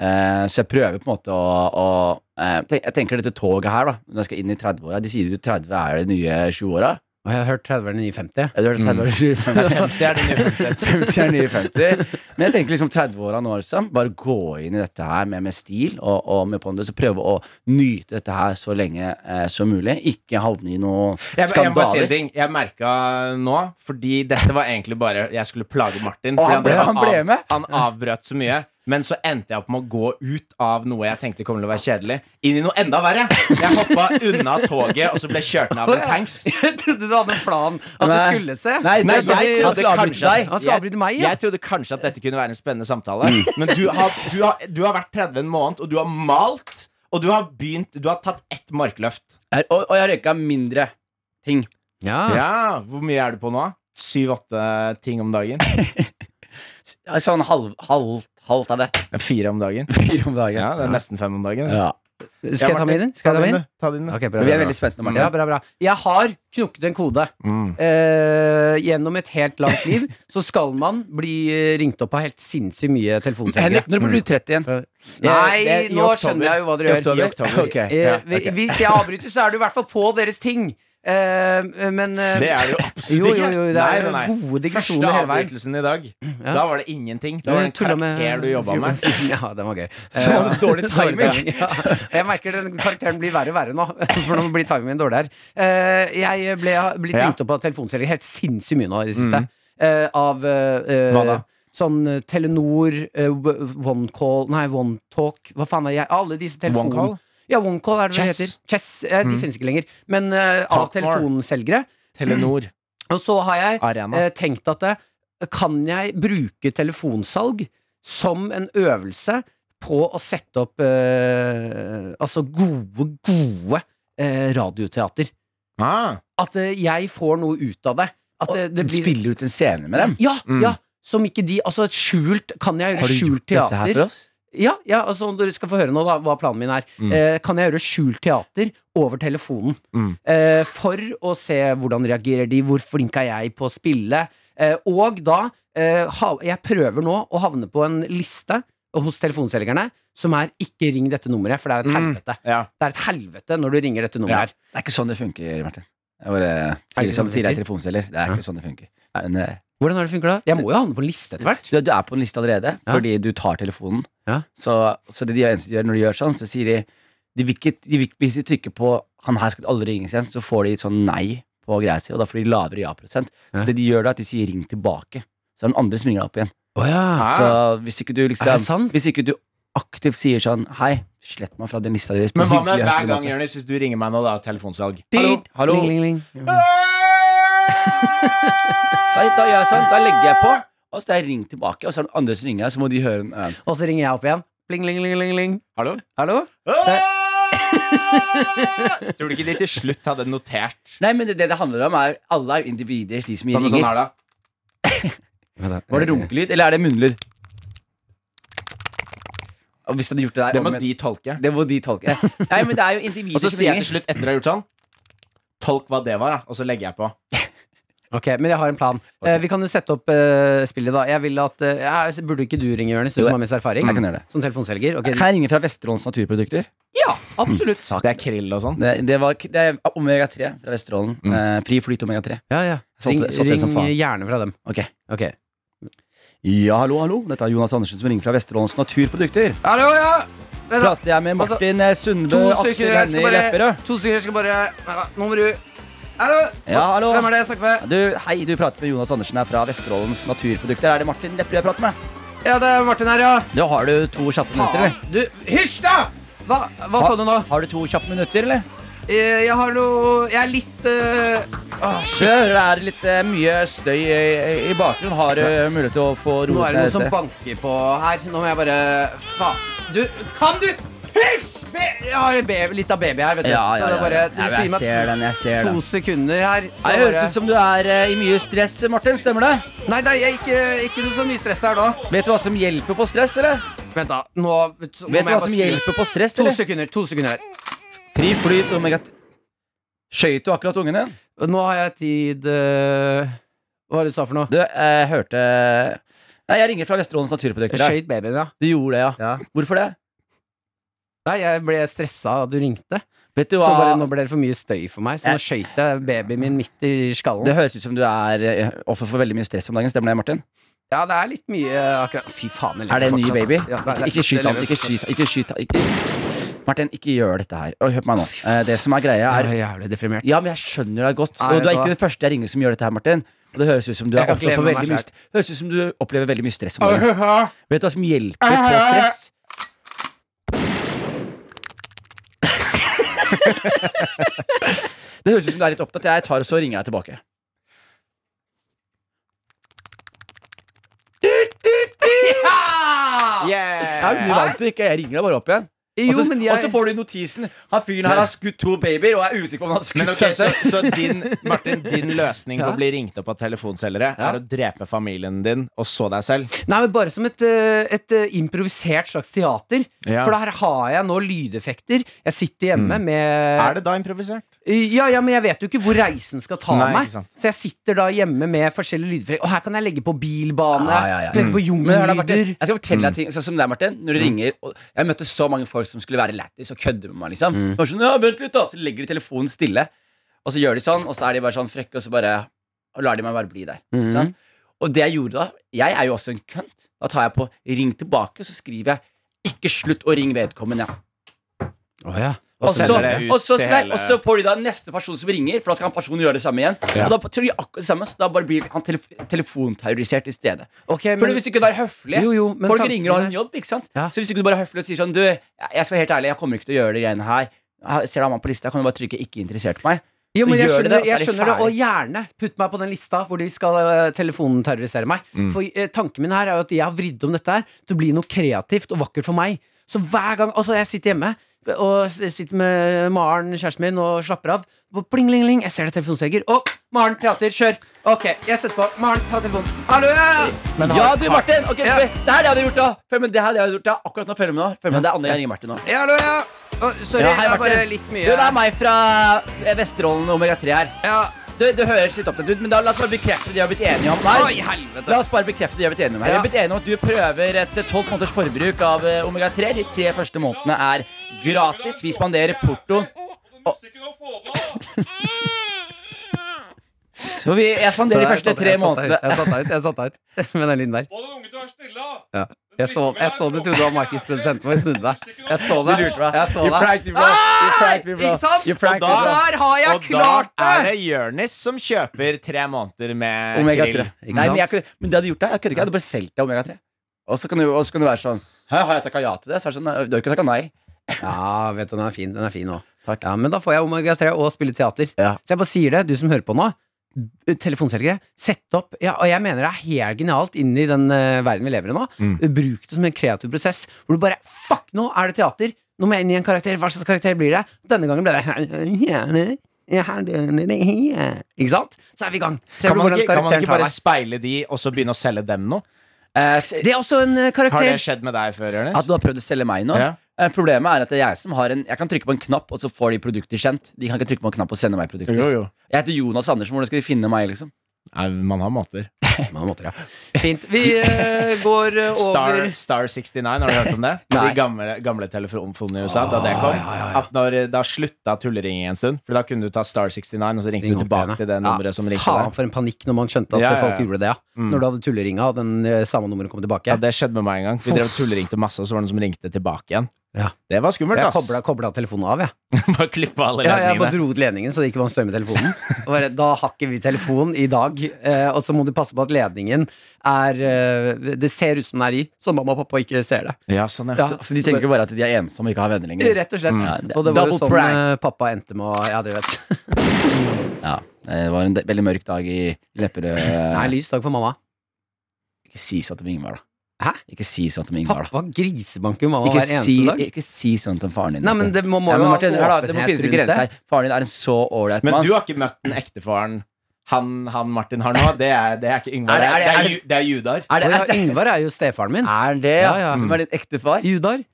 B: Eh, så jeg prøver på en måte å, å eh, tenk, Jeg tenker dette toget her, da når jeg skal inn i 30-åra De sier jo 30 er de nye 20-åra.
C: Og jeg har hørt 30-erne i 50.
B: Eller 30 er de nye
D: Mm.
B: 50.
D: Det er det nye punktet.
B: 50 er nye 50. Men jeg tenker liksom 30-åra nå, liksom. Bare gå inn i dette her med, med stil og, og med pondus. Og prøve å nyte dette her så lenge eh, som mulig. Ikke havne i noe
D: Jeg, jeg må bare si
B: skandaler.
D: en ting. Jeg merka nå, fordi dette var egentlig bare Jeg skulle plage Martin.
B: Å,
D: fordi
B: han ble- han ble
D: av-
B: med?
D: han avbrøt så mye. Men så endte jeg opp med å gå ut av noe jeg tenkte kom til å være kjedelig, inn i noe enda verre. Jeg hoppa unna toget, og så ble jeg kjørt ned av en tanks.
C: Jeg trodde du hadde en plan at det
B: Nei.
C: skulle se.
B: Nei,
D: Nei,
B: det,
C: så de-
D: jeg
C: han
D: trodde
C: skal avbryte
D: kanskje
C: deg. Han skal avbryte meg, ja.
D: Jeg trodde kanskje at dette kunne være en spennende samtale. Men du har, du, har, du har vært 30 en måned, og du har malt, og du har begynt Du har tatt ett markløft.
B: er, og, og jeg røyka mindre ting.
C: Ja.
D: Ja, Hvor mye er du på nå? Syv-åtte ting om dagen?
B: Sånn halv, halv, halvt av det.
D: Fire om dagen?
B: Fire om dagen.
D: Ja, det er nesten fem om dagen. det.
B: Ja.
C: Skal jeg ta med inn? Skal jeg ta med inn?
D: Ta din, du.
C: Ok,
B: Men Vi
C: bra, bra,
B: er
C: bra.
B: veldig spente nå, Martin.
C: Ja, bra, bra. Jeg har knukket en kode.
D: Mm.
C: Eh, gjennom et helt langt liv så skal man bli eh, ringt opp av helt sinnssykt mye telefonselgere.
B: Henrik, når blir du 30 igjen?
C: Nei,
D: Det er i
C: nå
D: oktober.
C: skjønner jeg jo hva
D: I
C: dere gjør.
D: oktober, i oktober.
B: Ok,
C: Eh,
B: ja,
C: vi- Hvis jeg avbryter, så er du i hvert fall på deres ting. Eh, men eh,
D: Det er det jo absolutt
C: Jo,
D: ikke.
C: jo, jo, det
D: Nei,
C: er
D: nei, nei.
C: gode digresjoner
D: Første
C: hele veien.
D: avbrytelsen i dag,
C: Ja.
D: da var det ingenting. Da var det en
C: Tulla
D: karakter
C: med-
D: du jobba med.
C: Ja, den var gøy. Eh,
D: Så var det dårlig timing.
C: ja. Jeg merker den karakteren blir verre og verre nå. For nå blir timingen dårlig her. Eh, Jeg ble, blitt
D: Ja. Mm.
C: ringt opp av telefonselgere helt sinnssykt mye nå i det siste. Eh, Av eh,
D: Hva da?
C: Sånn eh, Telenor, eh, One Call Nei, One Talk. Hva faen er jeg? Alle disse telefon...
D: One Call?
C: Ja, One Call er det det
D: Chess. Mm.
C: heter. Chess. Eh, De finnes ikke lenger. Men eh, av
D: Talk more.
C: telefonselgere.
D: Telenor
C: Og så har jeg
D: Arena.
C: eh, tenkt at eh, kan jeg bruke telefonsalg som en øvelse på å sette opp eh, altså gode, gode eh, radioteater?
D: Ah.
C: At eh, jeg får noe ut av det. At eh, det
B: Du
C: blir
B: spiller ut en scene med dem.
C: Ja,
D: Mm.
C: ja. Som ikke de Altså, et skjult Kan jeg gjøre skjult
B: dette her
C: teater?
B: for oss?
C: Ja, ja, altså om dere skal få høre nå da, hva planen min er.
D: Mm.
C: Eh, kan jeg gjøre skjult teater over telefonen?
D: Mm.
C: Eh, for å se hvordan reagerer de, hvor flink er jeg på å spille? Eh, og da eh, ha, Jeg prøver nå å havne på en liste hos telefonselgerne som er 'ikke ring dette nummeret', for det er et
D: Mm.
C: helvete.
D: Ja.
C: Det er et helvete når du ringer dette nummeret her.
B: Det er ikke sånn det funker, Martin. Jeg bare
C: Er
B: sier
C: det ikke
B: det
C: sånn det
B: samtidig, jeg
C: funker?
B: er telefonselger. Det er ikke sånn det funker. Men, eh,
C: Hvordan er det funker da? Jeg må jo havne på en liste etter hvert.
B: du, du er på en liste allerede,
C: Ja.
B: fordi du tar telefonen.
C: Ja.
B: Så, så det de eneste de gjør når de gjør sånn, så sier de, de, vil ikke, de vil, ikke- Hvis de trykker på 'han her skal aldri ringes igjen', så får de et sånn nei på greia si, og da får de lavere ja-prosent.
C: Ja.
B: Så det de gjør da, er at de sier 'ring tilbake'. Så er den andre som ringer deg opp igjen.
C: Oh, ja.
B: Så
D: Ah.
B: hvis ikke du
C: Er det
B: liksom
C: sant?
B: Hvis ikke du aktivt sier sånn Hei, slett meg fra den lista deres på
D: Men hva
B: en
D: med
B: hyggelig og
D: hver
B: høflig
D: gang,
B: måte.»
D: Jonis, hvis du ringer meg nå, da, telefonsalg?
B: Hallo, hallo.
C: Ling, ling, ling. Ja.
B: Da, da gjør jeg sånn, da legger jeg på Og så er jeg ring tilbake Og så er det andre som ringer deg Så må de høre en eh,
C: Og så ringer jeg opp igjen. Bling, ling, ling, ling, ling.
D: Hallo?
C: Hallo?
D: Tror du ikke de til slutt hadde notert?
B: Nei, men det, det det handler om er Alle er jo individer De som
D: Hva med
B: ringer
D: sånn her, da?
B: Var det runkelyd, eller er det munnlyd? Og hvis du hadde gjort det der
D: Det må
B: om igjen-
D: de tolke.
B: det må de tolke Nei, men det er jo individer
D: Og så
B: som
D: sier jeg
B: ringer.
D: til slutt, etter å ha gjort sånn Tolk hva det var, da. Og så legger jeg på.
C: Ok, men jeg har en plan. Eh, vi kan jo sette opp eh, spillet, da. Jeg vil at eh, ja, Burde ikke du ringe, Jonis, du
B: Jo,
C: som har mest erfaring?
B: jeg kan gjøre det.
C: Som telefonselger? Ok.
B: Kan jeg ringe fra Vesterålens naturprodukter?
C: Ja, absolutt.
B: Mm.
D: Det er krill og sånn.
B: Det, det var k- det er Omega 3 fra Vesterålen eh, Fri flyt Omega 3
C: Ja, ja.
B: Solgte-
C: Ring,
B: solgte det som
C: ring
B: faen.
C: gjerne fra dem.
B: Ok
C: Ok.
B: Ja, hallo, hallo. Dette er Jonas Andersen som ringer fra Vesterålens Naturprodukter.
C: Hallo, ja! Vent da.
B: Prater jeg med Martin eh, Sundbø,
C: Altså, To
B: Aksel
C: stykker jeg
B: Hennie
C: skal bare
B: Lepperød.
C: To stykker jeg skal bare ja, Nå må du Hallo!
B: Ja, hallo.
C: Hvem er det jeg snakker med?
B: Du, hei, du prater med Jonas Andersen her fra Vesterålens Naturprodukter. Er det Martin Lepperød jeg prater med?
C: Ja, det er Martin her, ja.
B: Da har du to kjappe minutter, eller?
C: Du, hysj, da! Hva, hva sa du nå?
B: Har du to kjappe minutter, eller?
C: Eh, Jeg har noe Jeg er litt eh,
B: Kjør, det er litt eh, mye støy i, i bakgrunnen. Har du mulighet til å få
C: Nå
B: roet
C: er
B: ned
C: det noen som
B: dette?
C: banker på her. Nå må jeg bare Faen. Du, kan du Hysj! Be- Jeg har en baby, litt av baby her, vet du.
B: Ja, ja,
C: Så det
B: ja.
C: er bare,
B: ja.
C: du
B: Nei,
C: sier
B: jeg
C: meg
B: ser den, jeg ser
C: To
B: den.
C: sekunder her. så
B: Nei, Det
C: bare-
B: høres ut som du er eh, i mye stress, Martin. Stemmer det?
C: Nei, nei, jeg er ikke, ikke noe så mye stress her nå.
B: Vet du hva som hjelper på stress, eller?
C: Vent, da. Nå, så, nå må jeg
B: Vet du
C: bare
B: hva som
C: skru-
B: hjelper på stress,
C: To
B: eller?
C: sekunder. to sekunder her.
B: Fri flyt, omega t- Skjøt du akkurat ungen din?
C: Nå har jeg tid eh, Hva var det du sa for noe?
B: Du, jeg hørte Nei, jeg ringer fra Vesterålens naturprodukter. her.
C: Skøyt babyen, ja.
B: Du gjorde det, ja.
C: ja.
B: Hvorfor det?
C: Nei, jeg ble stressa av at du ringte.
B: Vet du
C: Så
B: hva?
C: bare nå ble det for mye støy for meg, så nå skøyt jeg babyen min midt i
B: Det
C: skallen.
B: høres ut som du er eh, offer for veldig mye stress om dagen. Stemmer det, Martin?
C: Ja, det er litt mye eh, akkurat Fy faen, jeg lever
B: Er det en ny
C: fortsatt.
B: baby?
C: Ja, nei,
B: Ikke,
C: nei,
B: ikke skyt
C: jeg
B: han,
C: lever
B: ikke
C: fortsatt.
B: skyt ikke skyt han, ikke. Martin, ikke gjør dette her. Og hør på meg nå. Eh, Det som er greia,
C: Jeg
B: er
C: er jævlig deprimert.
B: Ja, men jeg skjønner deg godt.
C: Nei,
B: Og du er
C: vet du
B: ikke
C: hva?
B: den første jeg ringer som gjør dette her, Martin. Og det høres ut som du er
C: Jeg kan ikke
B: offer for
C: leve med
B: veldig
C: meg
B: mye st- Høres ut som du opplever veldig mye stress om dagen. Vet du hva som hjelper på stress? Det høres ut som du er litt opptatt. Jeg tar og så ringer jeg tilbake. Ja, Altså, men du
D: Yeah.
B: vant jo ikke. Jeg ringer deg bare opp igjen.
C: Jo,
B: og, så,
C: men jeg-
B: og så får du notisen. Han fyren her har skutt to babyer og er usikker på om han har skutt
D: Men ok,
B: seg
D: så,
B: selv.
D: så din, Martin, din løsning på å bli ringt opp av telefonselgere
C: Ja.
D: er å drepe familien din og så deg selv?
C: Nei, men bare som et, eh, et eh, improvisert slags teater.
D: Ja.
C: For her har jeg nå lydeffekter. Jeg sitter hjemme
B: Mm.
C: med
D: Er det da improvisert?
C: Ja, ja, men jeg vet jo ikke hvor reisen skal ta
D: Nei,
C: meg.
D: ikke sant.
C: Så jeg sitter da hjemme med forskjellige lydeffekter. Og her kan jeg legge på bilbane,
B: Ja, ja, ja.
C: legge på
B: Men hør da, Martin,
C: jungellyder.
B: jeg skal fortelle
D: Mm.
B: deg ting Sånn som deg, Martin. Når du ringer og Jeg møtte så mange folk som skulle være lættis og kødde med meg. liksom
D: Mm.
B: Det var sånn, ja, vent litt da Så legger de telefonen stille, og så gjør de sånn, og så er de bare sånn frekke, og så bare Og lar de meg bare bli der. Ikke
D: Mm.
C: Mhm.
B: sant? Og det jeg gjorde da Jeg er jo også en kønt. Da tar jeg på 'ring tilbake', og så skriver jeg 'ikke slutt å ringe vedkommende'. Og så,
D: sender det ut
B: og, så,
D: til
B: nei,
D: hele-
B: og så får de da neste person som ringer, for da skal han personen gjøre det samme igjen. Og da tror de akkurat det samme, så da bare blir han telef telefonterrorisert i stedet.
C: Ok,
B: Fordi
C: Eh, men
B: Hvis du kunne være høflig
C: Jo, jo, men
B: Folk
C: tanken
B: ringer og har en
C: er-
B: jobb, ikke sant?
C: Ja.
B: Så hvis du kunne bare være høflig og si sånn Du, jeg jeg skal være helt ærlig, jeg kommer ikke til å gjøre det greiene her. Her Ser du han på lista, kan du bare trykke 'ikke interessert' på meg?
C: jo,
B: så
C: men jeg
B: gjør de
C: skjønner,
B: det, og så er
C: jeg
B: de
C: skjønner det, og
B: ferdig.
C: gjerne putt meg på den lista hvor de skal eh, telefonen terrorisere meg.
B: Mm.
C: For eh, tanken min her er jo at jeg har vridd om dette her til å bli noe kreativt og vakkert for meg. Så hver gang Altså, jeg sitter hjemme og s- sitter med Maren, kjæresten min, og slapper av. Og Pling, ling, ling, jeg ser det telefonsteger. Å, Maren, teater, kjør! Ok, jeg setter på. Maren, ta telefonen. Hallo!
D: Men
B: ja,
D: har-
B: du, Martin! Ok,
C: Ja.
B: Det her hadde jeg hadde gjort da. Følg med, det her hadde jeg hadde gjort da Akkurat nå. Følg med nå. Følg med, Det er Anne jeg ringer Martin nå.
C: Ja, hallo, ja. Å, sorry,
B: Ja,
C: det
B: hei,
C: er bare
B: Martin.
C: litt
B: Du, det
C: mye.
B: er meg fra eh, Vesterålen Omega-3 her.
C: Ja.
B: Du, du høres litt opptatt ut, men da la oss bare bekrefte det vi har blitt enige om
C: Oi,
B: her.
C: helvete.
B: La oss bare bekrefte det vi har blitt enige om her. Vi
C: Ja.
B: har blitt enige om at du prøver et eh, 12 måneders forbruk av eh, Omega-3. De tre første månedene er gratis. Vi spanderer porto. Så vi, jeg spanderer de første tre månedene.
C: Jeg satt deg ut, jeg satt deg ut med den lyden der. Ja. Jeg, så, jeg så du trodde det var Markus, produsenten vår. Snudde deg. Jeg så det.
B: Du lurte meg.
C: Jeg så
B: You
C: det.
B: pranked me, bro. You pranked me, bro.
C: Ah, Ikke sant?
B: You pranked
D: Og
B: me,
D: da-
B: bro.
C: Der har jeg
D: Og
C: klart
D: da er
C: det!
D: det Jørnis som kjøper tre måneder med
B: Omega-3.
D: krill.
B: Nei, men, jeg, kunne- men det hadde gjort det. Jeg kødder ikke. Jeg hadde bare solgt deg Omega-3. Og så kan du og så kan du være sånn Hæ, har jeg takka ja til det? Så er det sånn, «Nei, Du har ikke takka nei.
C: Ja, vet du, den er fin. Den er fin òg. Ja, men da får jeg Omega-3 og spille teater.
B: Ja.
C: Så jeg bare sier det, du som hører på nå. b- Telefonselgere, sett opp ja, Og jeg mener det er helt genialt inn i den eh, verden vi lever i nå.
B: Mm.
C: Bruk det som en kreativ prosess hvor du bare Fuck, nå er det teater! Nå må jeg inn i en karakter. Hva slags karakter blir det? Denne gangen ble det Ikke sant? Så er vi i gang. Ser
D: Kan
C: du
D: man,
C: hvordan
D: ikke, kan man
C: karakteren
D: ikke bare
C: tar deg?
D: speile de og så begynne å selge dem noe?
B: Eh, så-
C: Det er også en eh,
D: Har det
C: karakter.
D: skjedd med deg før, Jørnis?
B: At du har prøvd å selge meg nå?
D: Ja.
B: Eh, Problemet er at det er jeg som har en Jeg kan trykke på en knapp, og så får de produkter sendt. De kan ikke trykke på en knapp og sende meg produkter.
D: jo.
B: Jeg heter Jonas Andersen. Hvordan skal de finne meg, liksom?
D: Nei, man har måter.
C: Fint. Vi eh, går eh,
D: Star,
C: over
D: Star 69, har du hørt om det?
B: Nei.
D: De gamle, gamle telefonene i USA, da det kom. At når, da slutta tulleringing en stund, for da kunne du ta Star 69, og så ringte du tilbake til det nummeret som ringte
C: Faen
D: deg.
C: for en panikk når man skjønte at
D: Ja, ja, ja.
C: folk gjorde det. Ja. Når du hadde tulleringa, og den eh, samme nummeret kom tilbake.
D: Ja, det skjedde med meg en gang. Vi drev og tulleringte masse, og så var det noen som ringte tilbake igjen.
C: Ja.
D: Det var skummelt,
C: jeg
D: ass.
C: kobla, kobla telefonen av, jeg.
D: Bare klippe alle
C: Ja, jeg bare
D: ledningene.
C: dro ut ledningen så det ikke var en støy med telefonen. Og bare, da har ikke vi telefon i dag, eh, og så må du passe på at ledningen er eh, Det ser ut som den er i, så mamma og pappa ikke ser det.
D: Ja, sånn,
C: Ja.
D: ja.
B: Så, så Altså, de tenker bare at de er ensomme og ikke har venner lenger.
C: Rett og slett.
B: Ja, det-
C: og det var
B: Mm. double
C: jo sånn
B: prank.
C: eh, pappa endte med å Ja, dere vet.
B: Ja, Eh, Det var en de- veldig mørk dag i Lepperød.
C: Det er en lys dag for mamma.
B: Ikke si sånn til Yngvar, da.
C: Hæ?
B: Ikke si sånn til Yngvar, da.
C: Pappa grisebanker jo mamma
B: Ikke
C: hver eneste
B: si,
C: dag.
B: ikke si sånn til faren din.
C: Nei, men det må, må
B: ja,
C: jo
B: men
C: ha
B: Martin, hør da, det må
C: åpenhet
B: finnes en
C: rundt
B: grense
C: det.
B: her. Faren din er en så ålreit
D: Men
B: mann.
D: du har ikke møtt den ektefaren han, han Martin har nå? Det er, det er ikke Yngvar,
B: Er
D: det
B: det-
D: er, det
B: er
D: er,
B: det-
D: Ju- det er Judar.
B: Er det,
C: Å
B: er
C: ja,
B: det,
C: Yngvar er jo stefaren min.
B: er det
C: Ja, ja.
B: Hvem er din ekte far?
C: Judar.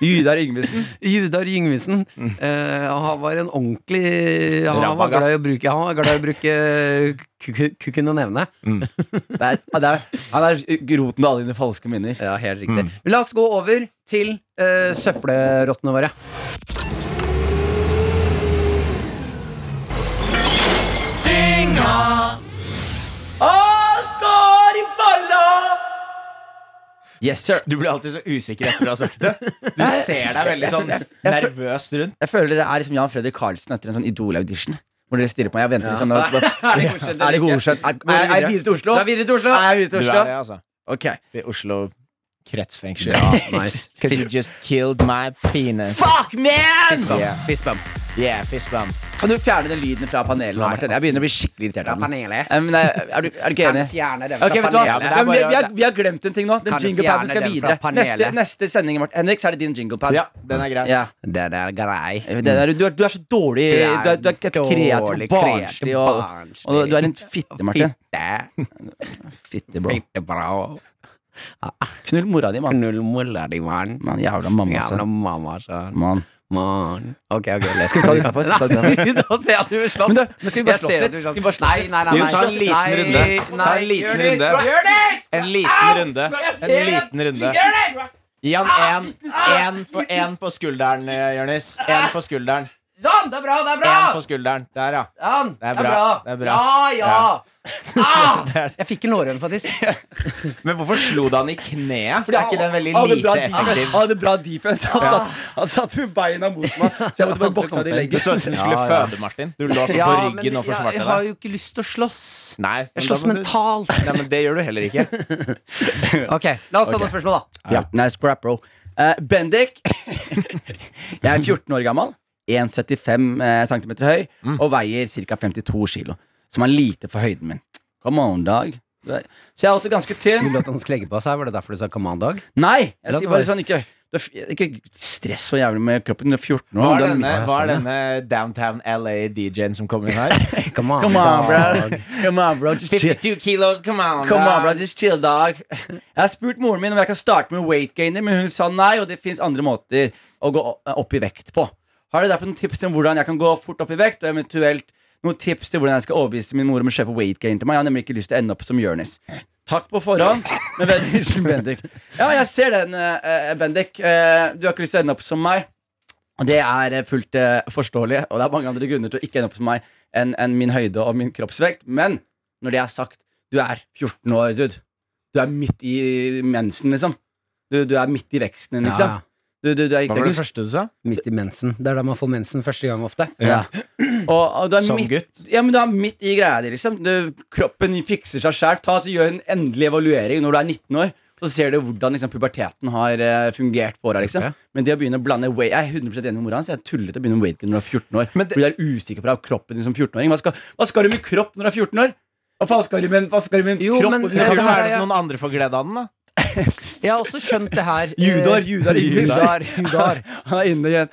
B: Vidar Yngvesen.
C: Judar Yngvesen.
B: Mm.
C: eh, han var en ordentlig Han var
D: Rabagast.
C: glad i å bruke, han var glad i å bruke ku- ku- kukken og nevene.
B: Mm. Det er, det er, han er roten til alle dine falske minner. Mm.
C: Ja, helt riktig. Men la oss gå over til eh, søppelrottene våre.
B: Yes, sir.
D: Du blir alltid så usikker etter du har sagt det. Du ser deg veldig sånn nervøst rundt.
B: Jeg føler dere er liksom Jan Fredrik Karlsen etter en sånn Idol-audition. Hvor dere stirrer på meg. Jeg venter liksom
C: Er det godkjent eller
B: Er det
C: ikke?
B: godkjent? Er,
C: Nå er
B: er,
C: det
B: er jeg videre til Oslo?
C: Da er vi videre til Oslo.
B: Er jeg videre
D: Du
B: til
D: er
B: Oslo?
D: det, altså.
B: Ok.
D: I Oslo kretsfengsel.
C: Ja, nice.
D: Cause you just killed my penis.
B: Fuck, man!
D: Yeah,
C: Fist bump.
D: yeah fist bump.
B: Kan du fjerne den lyden fra panelet? nå, Martin? Jeg begynner å bli skikkelig irritert av den.
C: Panelet.
B: Eh, men er, er, du, er du ikke
C: Kan
B: enig?
C: fjerne den fra
B: Ok, vet du hva?
C: panelet.
D: men det er
B: Ja, men vi,
D: bare-
B: vi, har, vi har glemt en ting nå. Den
C: Kan du
B: jinglepaden
C: fjerne
B: skal
C: den
B: videre.
C: fra panelet?
B: Neste, neste sending, Martin. Henrik, så er det din jinglepad.
D: Ja, den er grei.
B: Ja.
C: Den er grei. Mm.
B: Det der, du, er, du er så dårlig Du er, du er, kreativ og
C: dårlig,
B: barnslig. Og,
C: barnslig.
B: og du er en fitte, Martin.
C: Fitte.
B: Fitte, bro.
C: Fitte bra.
B: Knull mora di, mann.
C: Null mulla di, mann.
B: Man, jævla mamma, altså.
C: Jævla mamma, sønn.
B: Man.
C: Mann. Ok, ok, let's
B: Skal vi ta litt kaffe? Skal vi ta litt kaffe?
C: Nå ser jeg at du vil slåss.
B: Men da- men skal vi bare
C: Jeg
B: slåss
C: ser
B: litt?
C: at du vil
B: Skal vi bare slåss
C: Nei,
B: litt?
C: nei, nei,
D: Jo,
C: nei.
D: ta en liten
C: Nei,
D: runde.
C: nei,
D: Ta en liten
C: Jonis,
D: runde.
C: Jonis!
D: En liten runde. En liten runde. Gi han én en, på- en på skulderen, eh, Jonis. Én på skulderen.
C: Sånn, det er bra, det er bra!
D: Én på skulderen. Der, ja.
C: Sånn,
D: Det er bra, det er bra.
C: Ja, ja. Ah! Jeg fikk en lårhøne, faktisk.
D: Men hvorfor slo du han i kneet? Er ikke den veldig
B: Han hadde
D: lite
B: bra defense.
D: effektiv?
B: Han hadde bra defense. Han satt, han satt med beina mot meg, så jeg måtte bare bokse av de
D: sånn Du
B: legger.
D: så ut som du skulle
C: Ja, ja.
D: føde, Martin. Du lå sånn
C: Ja,
D: på
C: men
D: ryggen og
C: jeg,
D: forsvarte
C: jeg har
D: deg.
C: jo ikke lyst til å slåss.
D: Nei, men
C: Jeg
D: da
C: slåss
D: må du-
C: mentalt.
D: Nei, men det gjør du heller ikke.
C: Ok, La oss ta noen spørsmål, da.
B: Ja, nice crap, bro. Eh, Bendik. jeg er 14 år gammel, 1,75 cm høy
D: Mm.
B: og veier ca. 52 kg. Som er lite for høyden min. Come on, Dag. Du er- Så jeg er også ganske tynn.
C: Ville du at han skulle legge på seg? Var det derfor du sa Command-dag?
B: Nei! Jeg
C: La
B: sier
C: det
B: bare
C: være.
B: sånn, ikke, du er f- ikke stress så jævlig med kroppen. Du er 14 år.
D: Hva er
B: den-
D: denne,
B: Ja,
D: hva
B: sånn,
D: er
B: ja.
D: denne downtown LA-DJ-en som kommer inn her?
B: Come on, bro. Come on, bro. Just chill.
D: 52 kilos, come on!
B: Come on, bro.
D: da.
B: Just chill, dog. Jeg har spurt moren min om jeg kan starte med weight gainer, men hun sa nei, og det fins andre måter å gå opp i vekt på. Har du derfor noen tips om hvordan jeg kan gå fort opp i vekt, og eventuelt noen tips til hvordan jeg skal overbevise min mor om å kjøpe weight gain til meg? Jeg har nemlig ikke lyst til å ende opp som Jonis. Takk på forhånd. Men vennlig hilsen Bendik. Ja, jeg ser den, eh, eh, Bendik. Eh, du har ikke lyst til å ende opp som meg. Og Det er eh, fullt eh, forståelig, og det er mange andre grunner til å ikke ende opp som meg enn enn min høyde og min kroppsvekt. Men når det er sagt, du er 14 år, dude. Du er midt i mensen, liksom. Du, du er midt i veksten din, liksom.
C: Ja,
B: Du, du, du er, det er
D: Hva var det
B: ikke-
D: første du sa?
C: Midt i mensen. Det er da man får mensen første gang ofte.
B: Ja. Og, og du er
D: Som
B: midt,
D: gutt.
B: Ja, men du er midt i greia di, liksom. Du, kroppen fikser seg sjæl. Ta så Gjør en endelig evaluering når du er 19 år. Så ser du hvordan liksom, puberteten har eh, fungert på åra. Liksom.
C: Ok.
B: Men det å begynne å blande weight Jeg er 100 enig med mora hans. Jeg er tullete å begynne med weight gain når du er 14 år.
D: Men det-
B: Fordi du er usikker på deg og kroppen din som 14-åring. Hva, skal- hva skal du med kropp når du er 14 år? Hva faen skal du med en, hva skal du med en
C: Jo,
B: kropp?
C: men-
B: og
D: Det
B: kropp?
D: kan
C: det
D: ikke
C: her
D: være
C: er-
D: at noen andre får glede av den, da.
C: Jeg har også skjønt det her eh,
B: Judar, Judar,
C: Judar, Judar.
B: Han er inne igjen.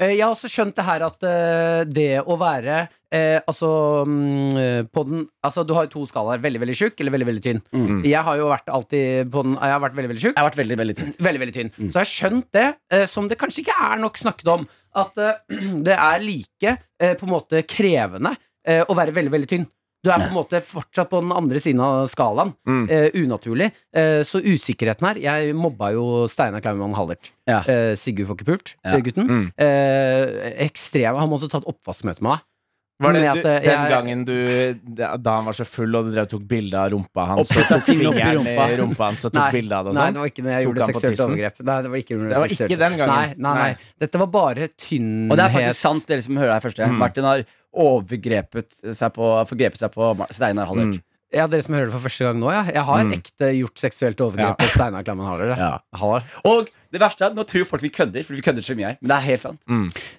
C: Eh, Jeg har også skjønt det her at eh, det å være eh, Altså, mm, eh, på den Altså, du har jo to skalaer. Veldig, veldig tjukk eller veldig, veldig tynn. Jeg har jo vært alltid på den Jeg har vært veldig, veldig tjukk.
B: Mm. Jeg har vært veldig, veldig tynn. Mm.
C: Veldig, veldig tynn. Så jeg har skjønt det, eh, som det kanskje ikke er nok snakket om, at eh, det er like eh, på en måte krevende eh, å være veldig, veldig tynn. Du er på en måte fortsatt på den andre siden av skalaen.
D: Mm.
C: Eh, unaturlig. Eh, så usikkerheten her Jeg mobba jo Steinar Klaumann Hallert.
B: Ja.
C: Eh, Sigurd får ikke pult,
B: Ja.
C: eh, gutten.
D: Mm.
C: Eh, ekstrem. Han måtte ta et oppvaskmøte med meg.
D: Var det
C: Men
D: du,
C: at, eh,
D: den
C: jeg-
D: gangen du Da han var så full, og du drev og tok bilde av rumpa
B: Og
D: hans, og tok
B: puttet fingeren opp i
D: fingeren i
B: rumpa.
D: rumpa hans og tok bilde av det og
C: nei,
D: sånn?
C: det var ikke når jeg
D: Tok
C: gjorde
D: han på
C: seksuelt
D: tissen?
C: overgrep. Nei, det var ikke under
D: Det var ikke
C: seksuelt-
D: den gangen.
C: Nei, nei, nei.
D: Nei.
C: Dette var bare tynnhet.
B: Og det er faktisk sant, dere som hører her første.
D: Mm.
B: Martin har overgrepet seg på, forgrepet seg på Mar- Steinar Hallert.
D: Mm.
C: Ja, dere som hører det for første gang nå, ja. Jeg har
D: Mm.
C: ekte gjort seksuelt overgrep
D: Ja.
C: på Steinar Klammen Haller. Ja.
B: Ja. Og det verste er at nå tror folk vi kødder, fordi vi kødder så mye her. Men det er helt sant.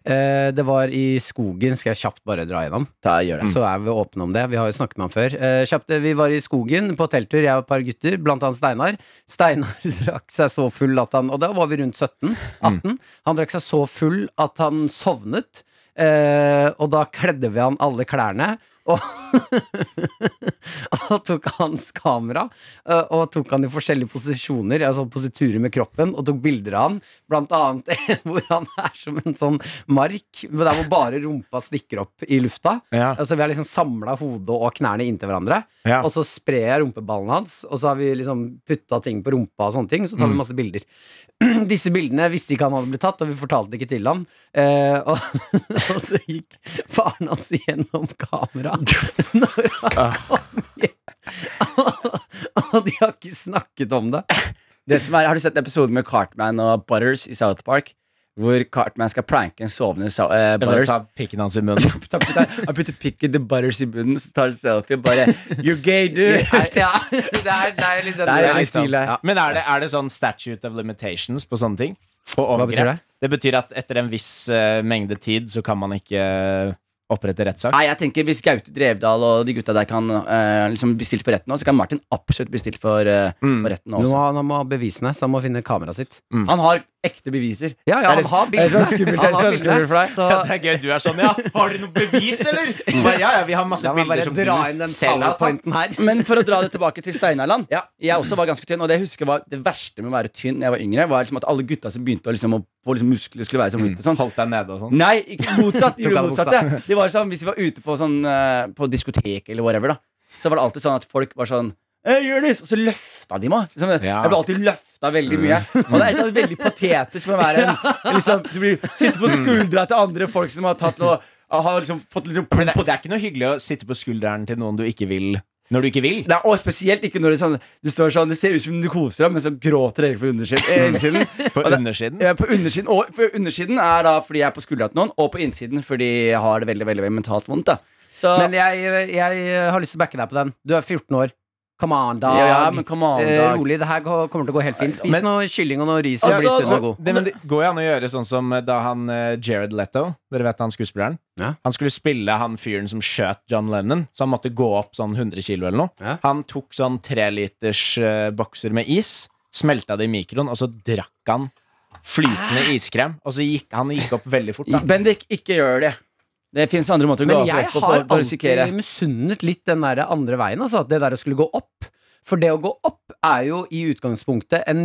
C: Eh, det var i skogen, skal jeg kjapt bare dra gjennom.
B: Da gjør det.
C: Så er vi åpne om det. Vi har jo snakket med han før. Eh, kjapt, eh, vi var i skogen på telttur, jeg og et par gutter, blant annet Steinar. Steinar drakk seg så full at han Og da var vi rundt 17-18. Han drakk seg så full at han sovnet. Eh, og da kledde vi han alle klærne. Og, og tok hans kamera eh, og tok han i forskjellige posisjoner, altså positurer med kroppen, og tok bilder av han. Blant annet en hvor han er som en sånn mark, der hvor bare rumpa stikker opp i lufta.
D: Ja.
C: Altså, vi har liksom samla hodet og knærne inntil hverandre.
D: Ja.
C: Og så sprer jeg rumpeballene hans, og så har vi liksom putta ting på rumpa og sånne ting. Så tar
B: Mm.
C: vi masse bilder. Disse bildene visste ikke han hadde blitt tatt, og vi fortalte det ikke til han. Eh, og, og så gikk faren hans gjennom kameraet når han kom hjem. Og de har ikke snakket om det.
B: Det som er, har du sett episoden med Cartman og Butters i South Park? Hvor Cartman skal pranke en sovende Sa- eh,
D: Jeg vil
B: Butters.
D: ta pikken hans i munnen.
B: Ta- ta- Han putter pikken til Butters i bunnen, så tar han selfie og bare You're gay, dude!
C: Nei, Ja, det er, det er litt den
B: Der er
C: der,
B: jeg i tvil her.
D: sånn- Ja. Men er det, er det sånn statute of limitations på sånne ting? På
C: Hva betyr
D: overgrep? Det betyr at etter en viss eh, mengde tid så kan man ikke eh, opprette rettssak.
B: Nei, jeg tenker Hvis Gaute Drevdal og de gutta der kan eh, liksom bli stilt for retten nå, så kan Martin absolutt bli stilt for, eh, for retten nå
C: Nå Mm. må
B: også.
C: han- han må ha bevisene, så han må finne kameraet sitt.
B: Han har ekte beviser.
C: Ja, ja, han har
B: Det er
C: bildene.
B: så skummelt, det
C: Han
B: er
C: har
B: så skummelt for deg.
C: Så,
D: Ja, det er gøy. Du er sånn, ja. Har dere noe bevis, eller? Så Bare, ja, ja, vi har masse
C: La meg
D: bilder
C: bare
D: som
C: dra inn
D: du
C: den
D: selv har tatt.
C: powerpointen her.
B: Men for å dra det tilbake til Steinarland.
C: Ja.
B: Jeg også var ganske tynn, og det jeg husker var det verste med å være tynn da jeg var yngre, var liksom at alle gutta som begynte å liksom, å få liksom muskler, skulle
C: Mm.
B: være som rundt og sånn.
D: Holdt deg nede og sånn.
B: Nei, ikke motsatt. De
C: Tok
B: gjorde
C: alle
B: motsatte. Det var sånn, Hvis vi var ute på, sånn, eh, på diskotek eller whatever, da så var det alltid sånn at folk var sånn «Hey, Jonis! Og så løfta de meg. Liksom,
D: Ja.
B: Jeg ble alltid løfta veldig mye. Og det er et eller annet veldig patetisk med å være en liksom, Du blir sitter på skuldra til andre folk som har tatt og har liksom fått litt
D: Men det,
B: på
D: det er ikke noe hyggelig å sitte på skulderen til noen du ikke vil, når du ikke vil.
B: Nei, og spesielt ikke når det, er sånn, du står sånn, det ser ut som du koser deg, men så gråter dere på undersiden. eh, innsiden.
D: På
B: Og det-
D: undersiden.
B: Eh, På undersiden, og for undersiden er da fordi jeg er på skuldra til noen, og på innsiden fordi jeg har det veldig veldig, veldig mentalt vondt. da så,
C: Men jeg, jeg har lyst til å backe deg på den. Du er 14 år. Come on, dag.
B: ja, ja, men come on,
C: Eh,
B: Dag.
C: rolig, det her går- kommer til å gå helt fint. Spis
D: Men-
C: noe kylling og noe ris.
B: Altså,
C: og bli sunn
B: så-
C: og god.
D: det, men det går jo an å gjøre sånn som eh, da han eh, Jared Leto Dere vet han skuespilleren?
C: Ja.
D: Han skulle spille han fyren som skjøt John Lennon, så han måtte gå opp sånn 100 kilo eller noe.
C: Ja.
D: Han tok sånn treliters uh, bokser med is, smelta det i mikroen, og så drakk han flytende iskrem. Og så gikk han gikk opp veldig fort. Da.
B: Bendik, ikke gjør det. Det fins andre måter å gå
C: Men
B: opp
C: jeg
B: på
C: har
B: for- for å risikere.
C: alltid misunnet litt den der andre veien, altså. At det der å skulle gå opp. For det å gå opp er jo i utgangspunktet en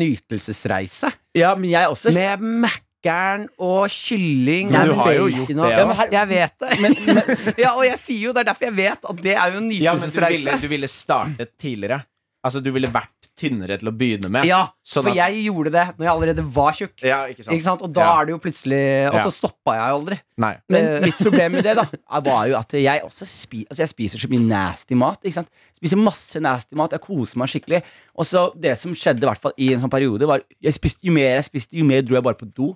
C: nytelsesreise.
B: Ja, men jeg også.
C: Med Mækkern og kylling
D: Men du
C: og
D: har jo
C: bacon
D: gjort det,
C: og-
D: ja.
C: Ja, men her- Jeg vet det. ja, og jeg sier jo, det er derfor jeg vet at det er jo en
D: Ja, men du
C: nytelsesreise.
D: ville, du ville startet tidligere. Altså, du ville vært tynnere til å begynne med.
C: Ja,
D: Sånn
C: for
D: at-
C: jeg gjorde det når jeg allerede var tjukk.
D: Ja, ikke sant?
C: Ikke sant? Og da
D: Ja.
C: er det jo plutselig Og
D: Ja.
C: så stoppa jeg aldri.
D: Nei.
B: Men
C: Eh.
B: mitt problem med det da er- var jo at jeg også spi, altså jeg spiser så mye nasty mat. Ikke sant? Spiser masse nasty mat, jeg koser meg skikkelig. Og så det som skjedde i hvert fall i en sånn periode, var jeg spiste, jo mer jeg spiste, jo mer dro jeg bare på do.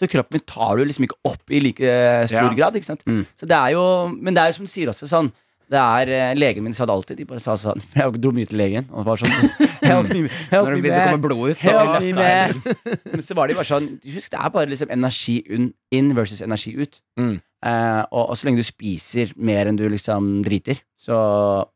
B: Så kroppen min tar det jo liksom ikke opp i like eh, stor
D: Ja.
B: grad. Ikke sant?
C: Mm.
B: Så det er jo, men det er jo som du sier også sånn det er, eh, Legen min sa det alltid. De bare sa sånn for Jeg dro mye til legen. Og var sånn Help me, help
C: Når det
B: me,
C: begynte å
B: man.
C: komme blod ut. Så
B: Help me,
C: løftet jeg.
B: man. Men så var de bare sånn Husk, det er bare liksom energi un- inn versus energi ut.
D: Mm.
B: Eh, og, og så lenge du spiser mer enn du liksom driter, så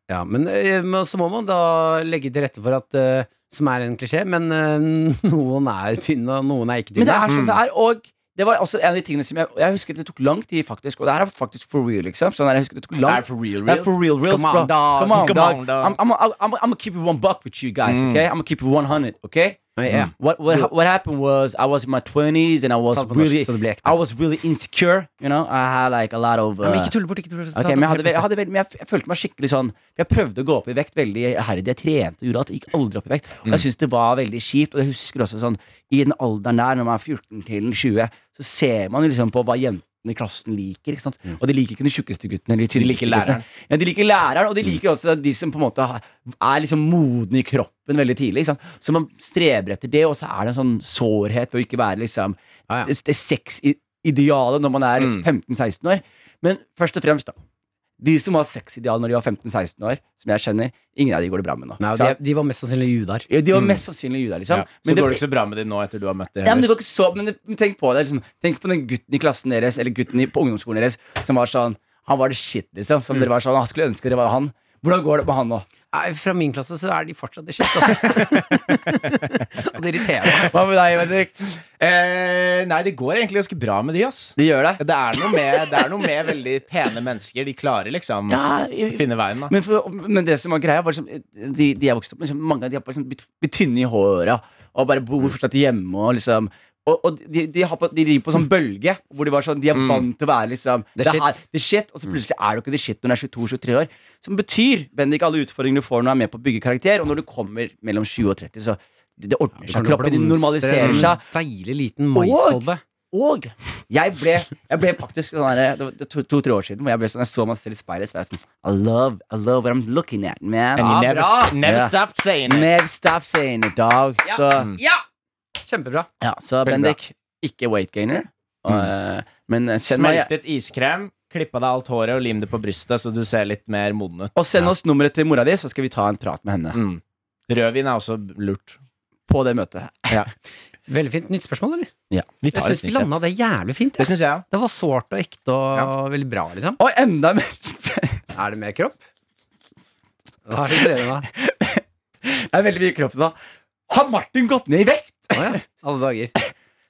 C: Ja, men, eh, men så må man da legge til rette for at eh, Som er en klisjé, men eh, noen er tynne, og noen er ikke
B: Men det
C: tynne.
B: er sånn det er, og det var også en av de tingene som jeg, jeg husker det tok lang tid, faktisk. Og det her er faktisk for real, liksom. Sånn her, jeg husker det tok lang
D: for real,
B: Det er for real, real,
C: Come on,
B: bro.
C: dog.
B: Come on,
D: Come
B: dog.
D: on, dog. Mm.
B: I'm, I'm, I'm, I'm, I'm gonna keep it one buck with you guys, okay? I'm gonna keep it 100, okay? Mm.
C: Ja.
B: What, what, what happened was I was in my 20s and I was
C: Ta det på norsk,
B: really,
C: så det blir ekte.
B: I was really insecure, you know? I had like a lot of
C: Men
B: uh,
C: ikke tulle bort, ikke tulle bort.
B: Ok, men jeg, hadde, ve- jeg, hadde, veld- men jeg, f- jeg følte meg skikkelig sånn Jeg prøvde å gå opp i vekt veldig herdig. Jeg trente og gjorde at jeg gikk aldri opp i vekt. Og jeg synes det var veldig kjipt. Og jeg husker også sånn I den alderen der, når man er 14 til 20, så ser man jo liksom på hva jentene i klassen liker. Ikke sant? Og de liker ikke de tjukkeste guttene. Eller de, tynneste
D: liker læreren.
B: guttene. Ja, de liker læreren, og de liker også de som på en måte har- er liksom modne i kroppen veldig tidlig. Ikke sant? Så man streber etter det, og så er det en sånn sårhet ved å ikke være liksom
C: Ja, ja.
B: det, det sexidealet når man er 15-16 år. Men først og fremst, da. De som har sexideal når de var 15-16 år, som jeg kjenner, ingen av de går det bra med nå.
C: Nei,
B: Så-
C: de, de var mest sannsynlig judar.
B: Ja, de var mest sannsynlig juder, liksom.
D: Mm. Ja. Så går det ikke så bra med de nå etter du har møtt de
B: ja, men
D: heller.
B: det går ikke så Men det- men tenk på det. Liksom. Tenk på den gutten i klassen deres, eller gutten i, på ungdomsskolen «Ah,
D: Mm.
B: deres, som var sånn Han var det shit, liksom. Som dere var sånn Han skulle ønske dere var han. Hvordan går det med han nå?
C: Nei, Fra min klasse så er de fortsatt det shit, altså. Og det irriterer meg.
B: Hva med deg, Henrik?
D: Eh, nei, det går egentlig ganske bra med de, ass.
B: De gjør det.
D: Det er noe med, det er noe med veldig pene mennesker. De klarer liksom å finne veien, da.
B: Men, for, men det som var greia, var liksom, de, de jeg vokste opp med, liksom, mange av de har bare liksom blitt, blitt tynne i håra og bare bor
C: Mm.
B: fortsatt hjemme og liksom og, og de, de, har på, de driver på sånn bølge hvor de, var sånn, de er vant til å være liksom
C: Mm. The shit. Mm.
B: her, the shit. Og så plutselig er du ikke the shit når du er 22-23 år. Som betyr Bendik, alle utfordringene du får når du er med på å bygge karakter, og når du kommer mellom 20 og 30, så det, det ordner seg. Kroppen din normaliserer seg.
C: Deilig liten maiskolbe.
B: Og jeg ble, jeg ble faktisk sånn her, Det var to-tre år siden hvor jeg ble sånn, jeg så meg selv i speilet. Så var jeg sånn, I love, I love what I'm looking at, man.
D: And
C: Ja,
D: you never,
C: bra.
D: st- never
B: Ja.
D: stopped saying it.
B: Never stop saying it, dog. Så,
C: Ja! Kjempebra.
B: ja, så
C: Veldig
B: Bendik, ikke weight gainer. Og,
D: Mm.
B: eh, men eh, send, meg,
D: Smeltet iskrem, klippa deg alt håret og lim det på brystet, så du ser litt mer moden ut.
B: og send oss nummeret til mora di, så skal vi ta en prat med henne
D: Mm. Rødvin er også lurt.
B: på det møtet. her
C: Veldig fint. Nytt spørsmål, eller?
D: Vi
C: Jeg
D: tar et
C: syns vi
D: snitt, ja.
C: landa det jævlig fint.
D: Det
C: Ja.
D: syns jeg òg.
C: Det var sårt og ekte og veldig bra, liksom.
B: Og enda mer
C: Er det mer kropp? Hva er det tredje, da?
B: Det er veldig mye kropp da. Har Martin gått ned i vekt?
C: Å ja. Alle dager.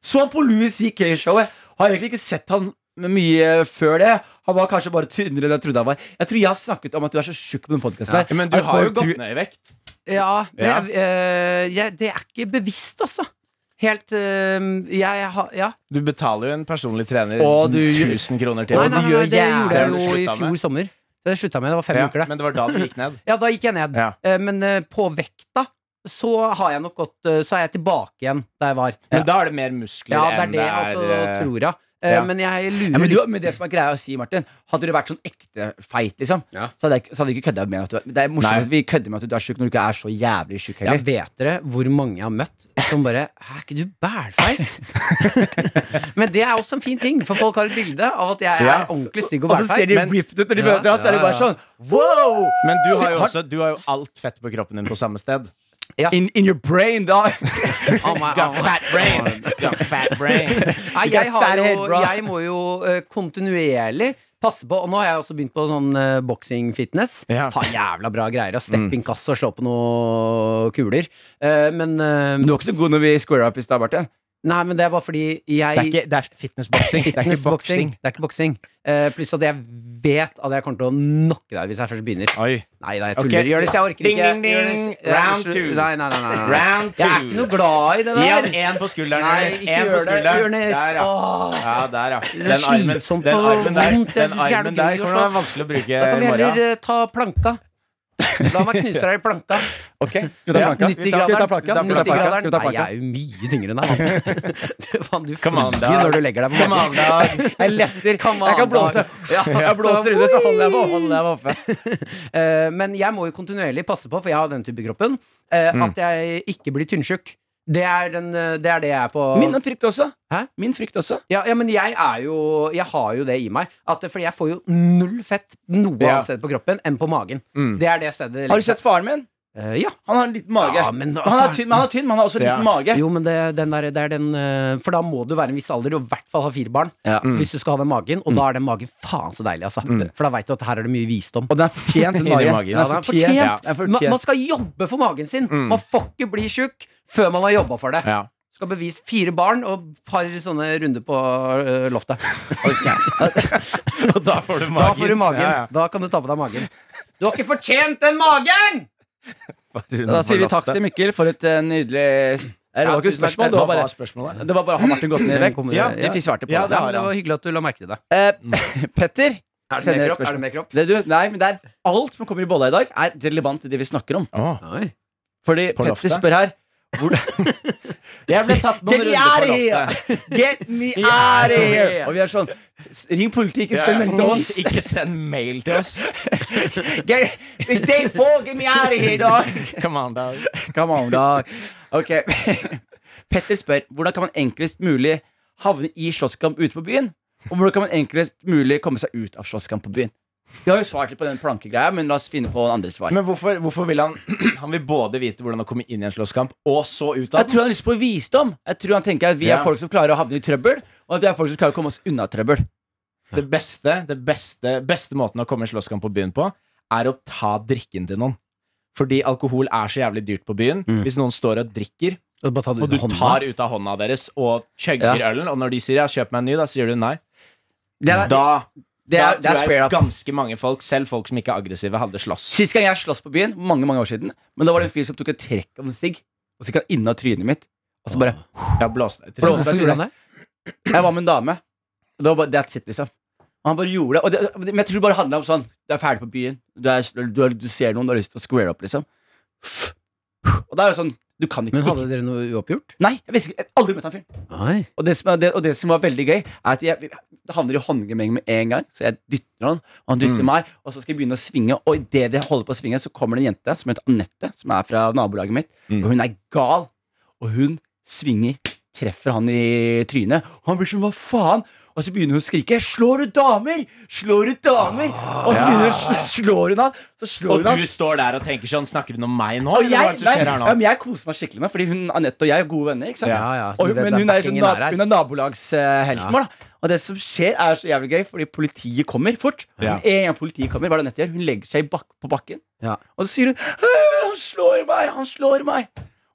B: Så han på Louis CK-showet. Har egentlig ikke sett han mye før det. Han var kanskje bare tynnere enn jeg trodde han var. Jeg tror jeg har snakket om at du er så tjukk på den podkasten. her
D: Men du
B: At
D: har jo
B: folk tror-
D: gått ned i vekt.
C: Ja, men
D: Ja.
C: Jeg, eh, jeg, det er ikke bevisst, altså. Helt eh, jeg, har Ja.
D: Du betaler jo en personlig trener
B: Å, du-
D: 1000 kroner til.
C: Nei,
B: Og du
C: nei, nei,
B: gjør
C: det gjorde
D: jævlig-
C: jeg jo i
D: Slutta med.
C: fjor sommer. Det slutta jeg med. Det var fem
D: Ja,
C: uker, det.
D: men det var da du gikk ned.
C: Ja, da gikk jeg ned.
D: Ja.
C: Eh, Men eh, på vekta så har jeg nok gått eh, Så er jeg tilbake igjen der jeg var.
D: Men da er det mer muskler
C: Ja, det er
D: enn
C: det jeg også
D: eh,
C: tror, ja. Eh,
D: ja.
C: Men jeg lurer
B: Ja, men,
C: litt
B: du, men det som er greia å si, Martin Hadde du vært sånn ekte feit, liksom,
C: Ja.
B: så, hadde jeg, ikke- så hadde vi ikke kødda med at du er- Det er morsomt
D: Nei.
B: at vi kødder med at du er tjukk når du ikke er så jævlig tjukk
C: Ja,
B: heller.
C: vet dere hvor mange jeg har møtt som bare Hæ, er ikke du bælfeit? Men det er også en fin ting, for folk har et bilde av at jeg er
D: Ja.
C: ordentlig stygg og
B: Og så ser
C: bælfeit.
B: de
D: Men-
B: ripped ut når de
C: Ja.
B: møter han, så er det
C: Ja,
B: bare
C: ja.
B: sånn wow!
D: Men du har jo
B: Har-
D: også Du har jo alt fett på kroppen din på samme sted.
B: In, in your brain, dog.
C: Oh my- oh my-
D: fat brain.
C: Nei,
B: You
C: jeg,
B: got
C: har
B: fat head,
C: jo,
B: bro.
C: jeg må jo eh, kontinuerlig passe på Og nå har jeg også begynt på sånn eh, boxing fitness.
D: Ja. Mm.
C: Faen, jævla bra greier. ass. Stepp inkasso og slå på noen kuler. Eh, men eh,
B: Du var ikke så god når vi scoret opp i stad, Martin.
C: Nei, men det er bare fordi jeg
D: Det er, ikke, det er fitnessboksing. Det er ikke boksing.
C: Det er ikke boksing. Eh, pluss at jeg vet at jeg kommer til å knocke deg hvis jeg først begynner.
D: Oi.
C: Nei, nei, jeg
D: Ok.
C: tuller. Gjør det, så jeg orker
D: Ding,
C: ikke.
D: ding, ding.
C: Gjør det, så- jeg-
D: Round
C: slu-
D: two.
C: Nei, nei, nei, nei, nei.
D: Round
C: Jeg er
D: two.
C: ikke noe glad i det
D: Gi ham
C: der.
D: én på skulderen.
C: Nei,
D: Jonis.
C: ikke
D: En på
C: gjør det.
D: skulderen.
C: Jonis.
D: Der, ja.
C: Åh.
B: Eh,
D: ja, der,
C: er
D: ja. Den armen,
C: slitsomt
D: den
C: og
D: armen der,
C: vondt. Jeg
D: den
C: synes det er
D: armen
C: noe gøy å
D: der kommer til å være
C: slåss.
D: vanskelig å bruke
C: Da kan vi
D: i
C: heller
D: morgen.
C: eh, ta planka. La meg knuse deg i planka.
B: Ok, Skal vi ta
D: Ja,
B: planka?
C: 90
B: Skal vi ta planka? Skal
C: graderen.
B: vi ta planka? Skal vi
C: 90
B: ta
C: graderen. Nei,
B: planka?
C: jeg er jo mye tyngre enn deg. mann. Du, Faen, du
D: Come on,
C: flyr
D: da.
C: når du legger deg på
D: Come on,
C: bakken.
D: Dag.
B: Jeg letter.
C: Come
B: Jeg
C: on,
B: kan blåse.
C: Ja.
B: Jeg blåser under, så holder jeg meg holder jeg meg oppe.
C: Eh, Men jeg må jo kontinuerlig passe på, for jeg har den type kroppen, eh,
B: Mm.
C: at jeg ikke blir tynnsjuk. Det er, den, eh, det er det jeg er på
B: Min frykt også.
C: Hæ?
B: Min frykt også.
C: Ja, ja, men jeg er jo Jeg har jo det i meg. At, fordi jeg får jo null fett noe
D: Ja.
C: annet sted på kroppen enn på magen. Det er det stedet det
B: Mm. Har du
C: ligger.
B: sett faren min?
C: Eh, ja.
B: Han har en liten mage.
C: Ja, men da-
B: han, er tynn, men han er tynn, men han har også en liten
D: Ja.
B: mage.
C: Jo, men det, den der, det er den eh, For da må du være en viss alder og i hvert fall ha fire barn
B: Ja.
C: hvis du skal ha den magen.
B: Mm.
C: Og da er den magen faen så deilig, altså. For da veit du at her er det mye visdom.
B: Og den er fortjent, den
D: Inni
B: magen.
D: magen.
C: Ja, den er fortjent. Mm.
B: Ja, den er
C: Ma,
B: fortjent.
C: man skal jobbe for magen sin. Man får ikke bli tjukk før man har jobba for det.
D: Ja.
C: Skal bevise fire barn og et par sånne runder på eh, loftet.
D: Og da får du
C: Da
D: magen.
C: får du magen.
D: Ja, ja.
C: Da kan du ta på deg magen. Du har ikke fortjent den magen!
B: Da sier vi takk til Mikkel for et eh, nydelig Nei, Det var ikke et
C: tusen takk.
B: spørsmål, det
D: Hva
B: var bare,
D: var spørsmålet?
B: det var bare Har Martin gått ned i vekt?
C: Kommer-
B: Ja,
C: ja.
B: Vi svarte på
D: Ja,
B: det.
D: det
C: Ja,
D: har
C: men det
D: han.
C: var hyggelig at du la merke til det.
B: Eh, Petter
C: Er det
B: sender et
C: mer kropp? Er det
B: spørsmål.
C: mer kropp?
B: Det du, nei, men det er alt som kommer i bolla i dag, er relevant til det vi snakker om.
D: Åh.
B: Fordi
D: På
B: Petter
D: loftet?
B: spør her hvor,
D: Jeg ble tatt noen
B: Get me
D: runder
B: out
D: på
B: of here!
D: loftet.
B: Get me out of here!
C: Yeah.
B: Og vi er sånn s- Ring politiet, ikke send melding til oss.
D: Ikke send mail til oss.
B: Get, it's day four, get me out of here, dog!
D: Come on, Dag.
B: Come on, dog. Ok. Petter spør hvordan kan man enklest mulig havne i slåsskamp ute på byen? Og hvordan kan man enklest mulig komme seg ut av slåsskamp på byen? Vi har jo svart litt på den plankegreia, men la oss finne på andre svar.
D: Men hvorfor, hvorfor vil han Han vil både vite hvordan å komme inn i en slåsskamp, og så ut av
B: jeg
D: den?
B: tror han har lyst på visdom. Jeg tror han tenker at Vi er
D: Ja.
B: folk som klarer å havne i trøbbel, og at vi er folk som klarer å komme oss unna trøbbel.
D: Det beste, det beste, beste måten å komme i slåsskamp på byen på, er å ta drikken til noen. Fordi alkohol er så jævlig dyrt på byen. Hvis noen står og drikker,
C: Og bare ta det
D: og
C: Mm. ut
D: du
C: av hånda.
D: tar ut av hånda deres og chugger
B: Ja.
D: ølen, og når de sier ja, 'kjøp meg en ny', da sier du nei,
C: det er,
D: da
C: det er, det
D: da
C: er
D: tror
C: square
D: jeg
C: up.
D: ganske mange folk, selv folk som ikke er aggressive, hadde slåss.
B: Sist gang jeg sloss på byen, mange mange år siden, men da var det en fyr som tok et trekk av en sigg, og så gikk han inna trynet mitt. Og så bare
D: Jeg blåste deg.
B: Blåste.
C: Hvorfor gjorde han det?
B: Jeg var med en dame. Og det var bare that's it, liksom. Og han bare gjorde det. Og det men jeg tror det bare handla om sånn Du er ferdig på byen. Du, er, du, er, du ser noen, du har lyst til å square up, liksom. Og da er det sånn Du kan ikke
C: Men hadde dere noe uoppgjort?
B: Nei, jeg visste ikke. Jeg har aldri møtt han fyren.
C: Nei.
B: Og det, som er, det, og det som var veldig gøy, er at jeg det handler i håndgemeng med en gang. Så jeg dytter han, og han
D: Mm.
B: dytter meg, og så skal jeg begynne å svinge. Og idet det holder på å svinge, så kommer det en jente som heter Anette, som er fra nabolaget mitt.
D: Mm.
B: Og hun er gal, og hun svinger, treffer han i trynet. Og han blir sånn, hva faen? Og så begynner hun å skrike 'Slår du damer?' 'Slår du damer?' og så begynner hun, slår hun han. Så slår
D: Og
B: hun han.
D: du står der og tenker sånn Snakker hun om meg nå?
B: Og
D: eller hva
B: jeg,
D: er det som
B: nei,
D: skjer
B: ja,
D: her nå?
B: men jeg koser meg skikkelig med Fordi hun, Anette og jeg er gode venner. Ikke sant?
C: Ja, ja, så
B: og,
C: Altså, du vet
B: men
C: den
B: hun er, sånn,
C: backingen
B: na-
C: er her.
B: hun er nabolagshelten
C: Ja.
B: vår. da. Og det som skjer, er så jævlig gøy, fordi politiet kommer fort.
D: Ja.
B: Med En gang politiet kommer, hva er det Anette gjør? Hun legger seg i bak på bakken,
C: Ja.
B: og så sier hun «Øh, 'Han slår meg! Han slår meg!'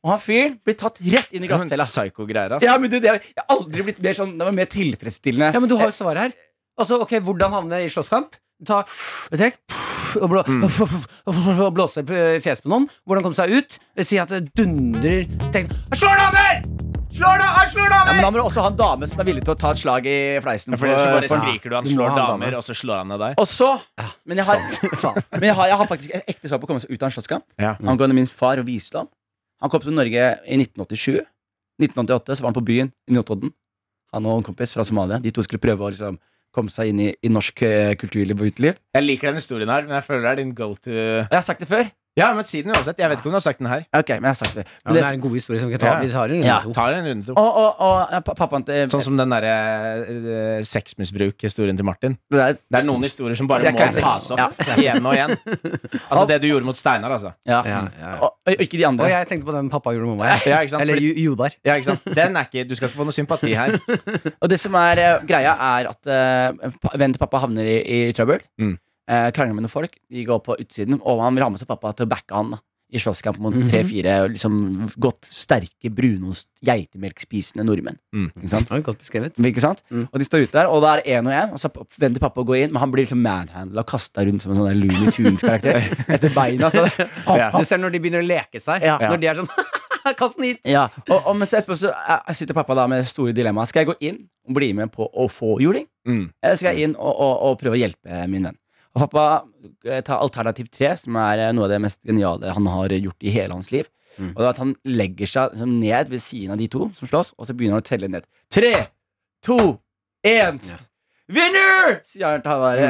B: Og han fyren blir tatt rett inn i
D: Ja, men
B: glattcella.
D: Psyko-greier, ass.
B: Ja, men du, det, er- jeg har aldri blitt mer sånn Det var mer tilfredsstillende.
C: Ja, men du har jo svaret her. Altså, ok, Hvordan havne i slåsskamp? Ta et trekk og, blå, og blåse opp i fjeset på noen. Hvordan komme seg ut? Si at det dundrer Tenk «Jeg Slår damer! Slår da, jeg slår
B: Ja,
C: damer!
B: men da må du også ha en dame som er villig til å ta et slag i fleisen.
D: For ellers så bare
B: for-
D: skriker du han
C: Du må
D: slår
C: ha en
D: damer,
C: dame.
D: og så slår han ned deg.
B: Og så Men jeg har
C: Faen.
B: Men jeg har, jeg har faktisk et ekte svar på å komme seg ut av en slåsskamp.
D: Ja.
B: Angående min far og visdom. Han kom til Norge i 1987. 1988 så var han på byen i Notodden. Han og en kompis fra Somalia. De to skulle prøve å liksom komme seg inn i, i norsk eh, kulturliv og uteliv.
D: Jeg liker den historien her, men jeg føler det er din go to
B: Og jeg har sagt det før.
D: Ja, men si den uansett. Jeg vet ikke om du har sagt den her.
B: Ok, men jeg har sagt det.
C: Ja, men
B: Men
C: det
B: det
C: er en god historie som vi kan ta. Vi tar en runde
B: Ja.
C: to.
D: Ta en runde til.
B: og, og, og eh, pa- pappaen til
D: Sånn som den derre eh, sexmisbruk-historien til Martin.
B: det der,
D: Det er noen historier som bare
B: Jeg
D: må
B: kan ikke-
D: tas opp
B: Ja.
D: igjen og igjen. Altså det du gjorde mot Steinar, altså.
B: ja.
C: Ja, ja, ja.
B: Og, og ikke de
C: Og
B: andre.
C: jeg tenkte på den pappa gjorde med mamma.
D: Ja, ikke sant?
C: Eller
D: Fordi,
C: Ju- Jodar.
D: ja, ikke sant? Den er ikke Du skal ikke få noe sympati her.
B: Og det som er eh, greia, er at eh, pa- vennen til pappa havner i, i trøbbel.
D: Mm.
B: Eh, krangler med noen folk. De går på utsiden, og han vil ha med seg pappa til å backe han da, i slåsskamp mot
C: Mhm.
B: tre-fire liksom, godt sterke, brunost, geitemelkspisende nordmenn.
D: Mm.
B: Ikke sant?
C: Ja, Godt beskrevet.
B: Ikke sant?
C: Mm.
B: Og de står ute der, og det er én og én. Og så venter pappa å gå inn, men han blir liksom manhandla og kasta rundt som en sånn der Looney Tunes-karakter. etter beina. Så det,
D: Ja.
C: Du ser når de begynner å leke seg.
B: Ja.
C: Når de er sånn Kast den hit!
B: Ja, og, og mens etterpå så eh, sitter pappa da med store dilemmaer. Skal jeg gå inn og bli med på å få juling?
D: Mm.
B: Eller Eh, skal jeg inn og, og, og prøve å hjelpe min venn? Og pappa eh, tar alternativ tre, som er eh, noe av det mest geniale han har eh, gjort i hele hans liv.
C: Mm.
B: Og det er at han legger seg liksom, ned ved siden av de to som slåss, og så begynner han å telle ned. Tre, to, én. Vinner! sier han til han der